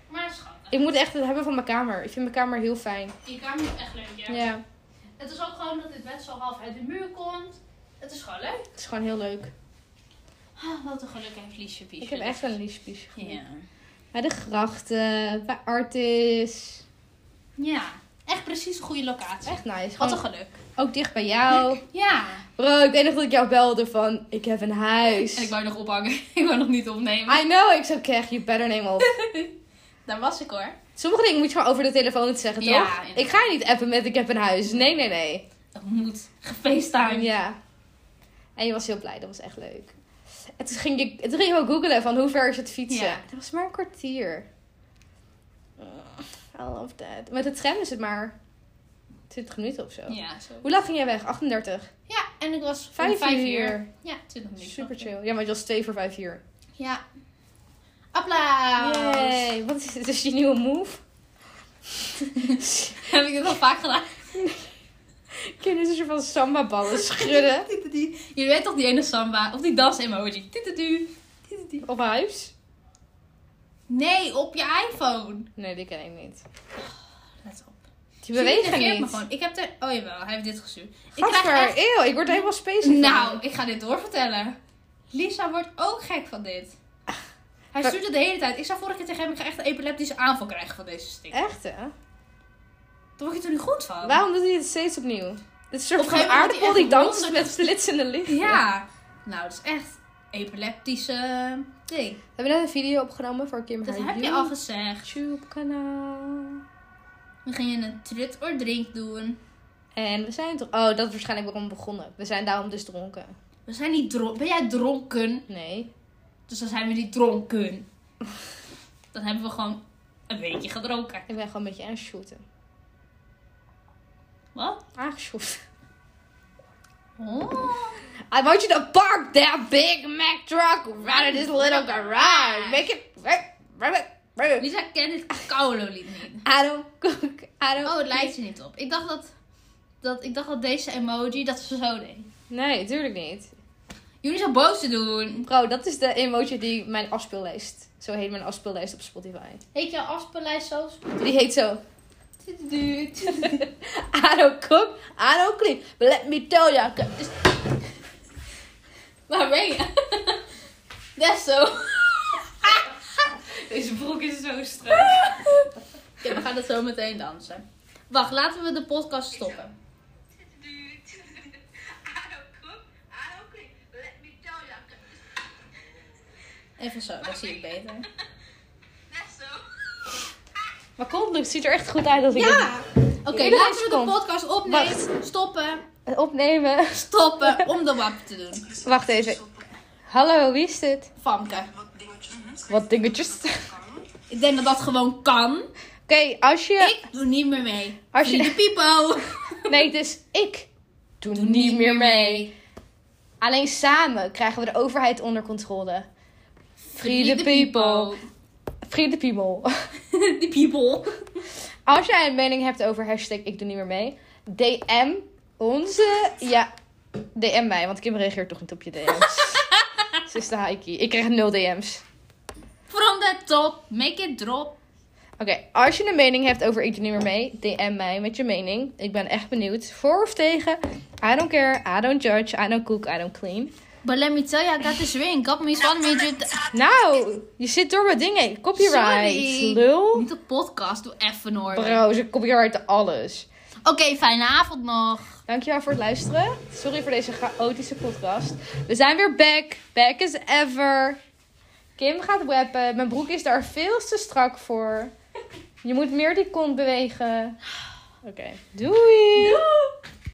S1: maar schattig.
S2: Ik moet echt het hebben van mijn kamer. Ik vind mijn kamer heel fijn.
S1: Die kamer is echt leuk,
S2: Ja.
S1: ja. Het is ook gewoon dat dit bed zo half uit de muur komt. Het is gewoon leuk.
S2: het is gewoon heel leuk.
S1: Ah, wat een geluk en vliesje, piesje.
S2: Ik heb echt een liefspiesje gevonden.
S1: dus. Ja.
S2: Bij de grachten, bij Artis.
S1: Ja, echt precies de goede locatie.
S2: Echt nice.
S1: Wat een
S2: Gewoon
S1: geluk.
S2: ook dicht bij jou.
S1: Oh. Ja.
S2: Bro, ik weet nog dat ik jou belde van, ik heb een huis.
S1: En ik wou nog ophangen. ik wou nog niet opnemen.
S2: I know. Ik zei, krijg you better name op.
S1: Daar was ik hoor.
S2: Sommige dingen moet je gewoon over de telefoon zeggen,
S1: Ja,
S2: toch?
S1: inderdaad.
S2: Ik ga je niet appen met, ik heb een huis. Nee, nee, nee.
S1: Dat moet. Gefacetimed.
S2: Ja. En je was heel blij, dat was echt leuk. En toen ging ik, toen ging ik ook googelen van hoe ver is het fietsen.
S1: Ja.
S2: Dat was maar een kwartier. Oh, I love that. Met de tram is het maar 20 minuten of zo.
S1: Ja, zo.
S2: Hoe laat ging jij weg? 38.
S1: Ja, en ik was om
S2: 5,
S1: vijf
S2: uur.
S1: uur. Ja, 20 minuten.
S2: Super chill. Ja, maar je was 2 voor 5 uur.
S1: Ja. Applaus.
S2: Yay. Wat is dit? Is je nieuwe move?
S1: Heb ik het al vaak gedaan?
S2: Kinderen is een soort van samba ballen schudden.
S1: Tietetie. Jullie weten toch die ene samba? Of die dans-emoji? Tietetu. Tietetu.
S2: Op huis?
S1: Nee, op je iPhone.
S2: Nee, die ken ik niet.
S1: Let op.
S2: Die
S1: Jullie
S2: bewegen
S1: negeert me
S2: niet.
S1: gewoon. Ik heb er... Oh jawel, hij heeft dit gestuurd. Ik krijg
S2: Gasper,
S1: echt...
S2: eeuw, ik word er helemaal specifiek.
S1: Nou, ik ga dit doorvertellen. Lisa wordt ook gek van dit. Hij
S2: Maar-
S1: stuurt het de hele tijd. Ik zei vorige keer tegen hem, ik ga echt een epileptische aanval krijgen van deze stick.
S2: Echt hè?
S1: Daar word je toch niet goed van?
S2: Waarom doet hij het steeds opnieuw? Dit is een
S1: Op
S2: soort
S1: een
S2: van
S1: gegeven moment
S2: aardappel
S1: wordt hij
S2: die
S1: echt
S2: danst
S1: wonderlijk.
S2: met flitsende lichten.
S1: Ja. Nou, het is echt epileptische eh, ding.
S2: We hebben net een video opgenomen voor Kim
S1: Dat
S2: haar
S1: heb je al gezegd.
S2: YouTube kanaal.
S1: We gingen een trut or drink doen.
S2: En we zijn toch... Oh, dat is waarschijnlijk waarom we begonnen. We zijn daarom dus dronken.
S1: We zijn niet dronken. Ben jij dronken?
S2: Nee.
S1: Dus dan zijn we niet dronken. Dan hebben we gewoon een beetje gedronken.
S2: Ik ben gewoon een beetje aangeschoten.
S1: Wat?
S2: Aangeschoten.
S1: Oh.
S2: I want you to park that Big Mac truck around this little garage. Make it... Run it. Run it.
S1: Lisa kent het kaololied niet.
S2: I don't cook. I don't...
S1: Oh, het lijkt er niet op. Ik dacht dat, dat, ik dacht dat deze emoji dat ze zo deed.
S2: Nee, tuurlijk niet.
S1: Jullie zijn boos te doen.
S2: Bro, dat is de emoji die mijn afspeellijst... Zo heet mijn afspeellijst op Spotify.
S1: Heet jouw afspeellijst zo?
S2: Die heet zo... I don't cook, I don't clean. But let me tell you, I can-
S1: Waar ben je? Dat is zo. Deze broek is zo strak. Ja, we gaan dat zo meteen dansen. Wacht, laten we de podcast stoppen.
S3: I don't cook. I don't clean. Let me tell you, I can
S1: Even zo, dan zie ik beter.
S4: Net zo.
S2: Maar Coldplay ziet er echt goed uit als ik
S1: Ja! Oké,
S2: Iedereen
S1: laten we de
S2: komt.
S1: podcast opnemen. Stoppen.
S2: het opnemen.
S1: Stoppen om de wap te doen.
S2: Wacht even. Hallo, wie is dit?
S1: Famke.
S2: Wat dingetjes. Oké,
S1: Ik denk dat dat gewoon kan.
S2: als je...
S1: Ik doe niet meer mee.
S2: Als je-
S1: De people.
S2: Nee, dus ik doe, niet meer mee. Alleen samen krijgen we de overheid onder controle. Free the people. Free the people.
S1: The people.
S2: Als jij een mening hebt over hashtag ik doe niet meer mee, DM onze... eh, Ja, DM mij, want Kim reageert toch niet op je DM's. Ze is de haikie. Ik krijg nul DM's.
S1: From the top. Make it drop.
S2: Oké, als je een mening hebt over ik doe niet meer mee, DM mij met je mening. Ik ben echt benieuwd. Voor of tegen? I don't care, I don't judge, I don't cook, I don't clean.
S1: But let me tell you, I got this ring. Got me one midget.
S2: Nou, je zit door mijn dingen. Copyright,
S1: Sorry.
S2: lul.
S1: Niet de podcast. Doe even hoor. Oké,
S2: Bro, ze copyrighten alles.
S1: fijne avond nog.
S2: Dankjewel voor het luisteren. Sorry voor deze chaotische podcast. We zijn weer back. Back as ever. Kim gaat weppen. Mijn broek is daar veel te strak voor. Je moet meer die kont bewegen. Oké, doei.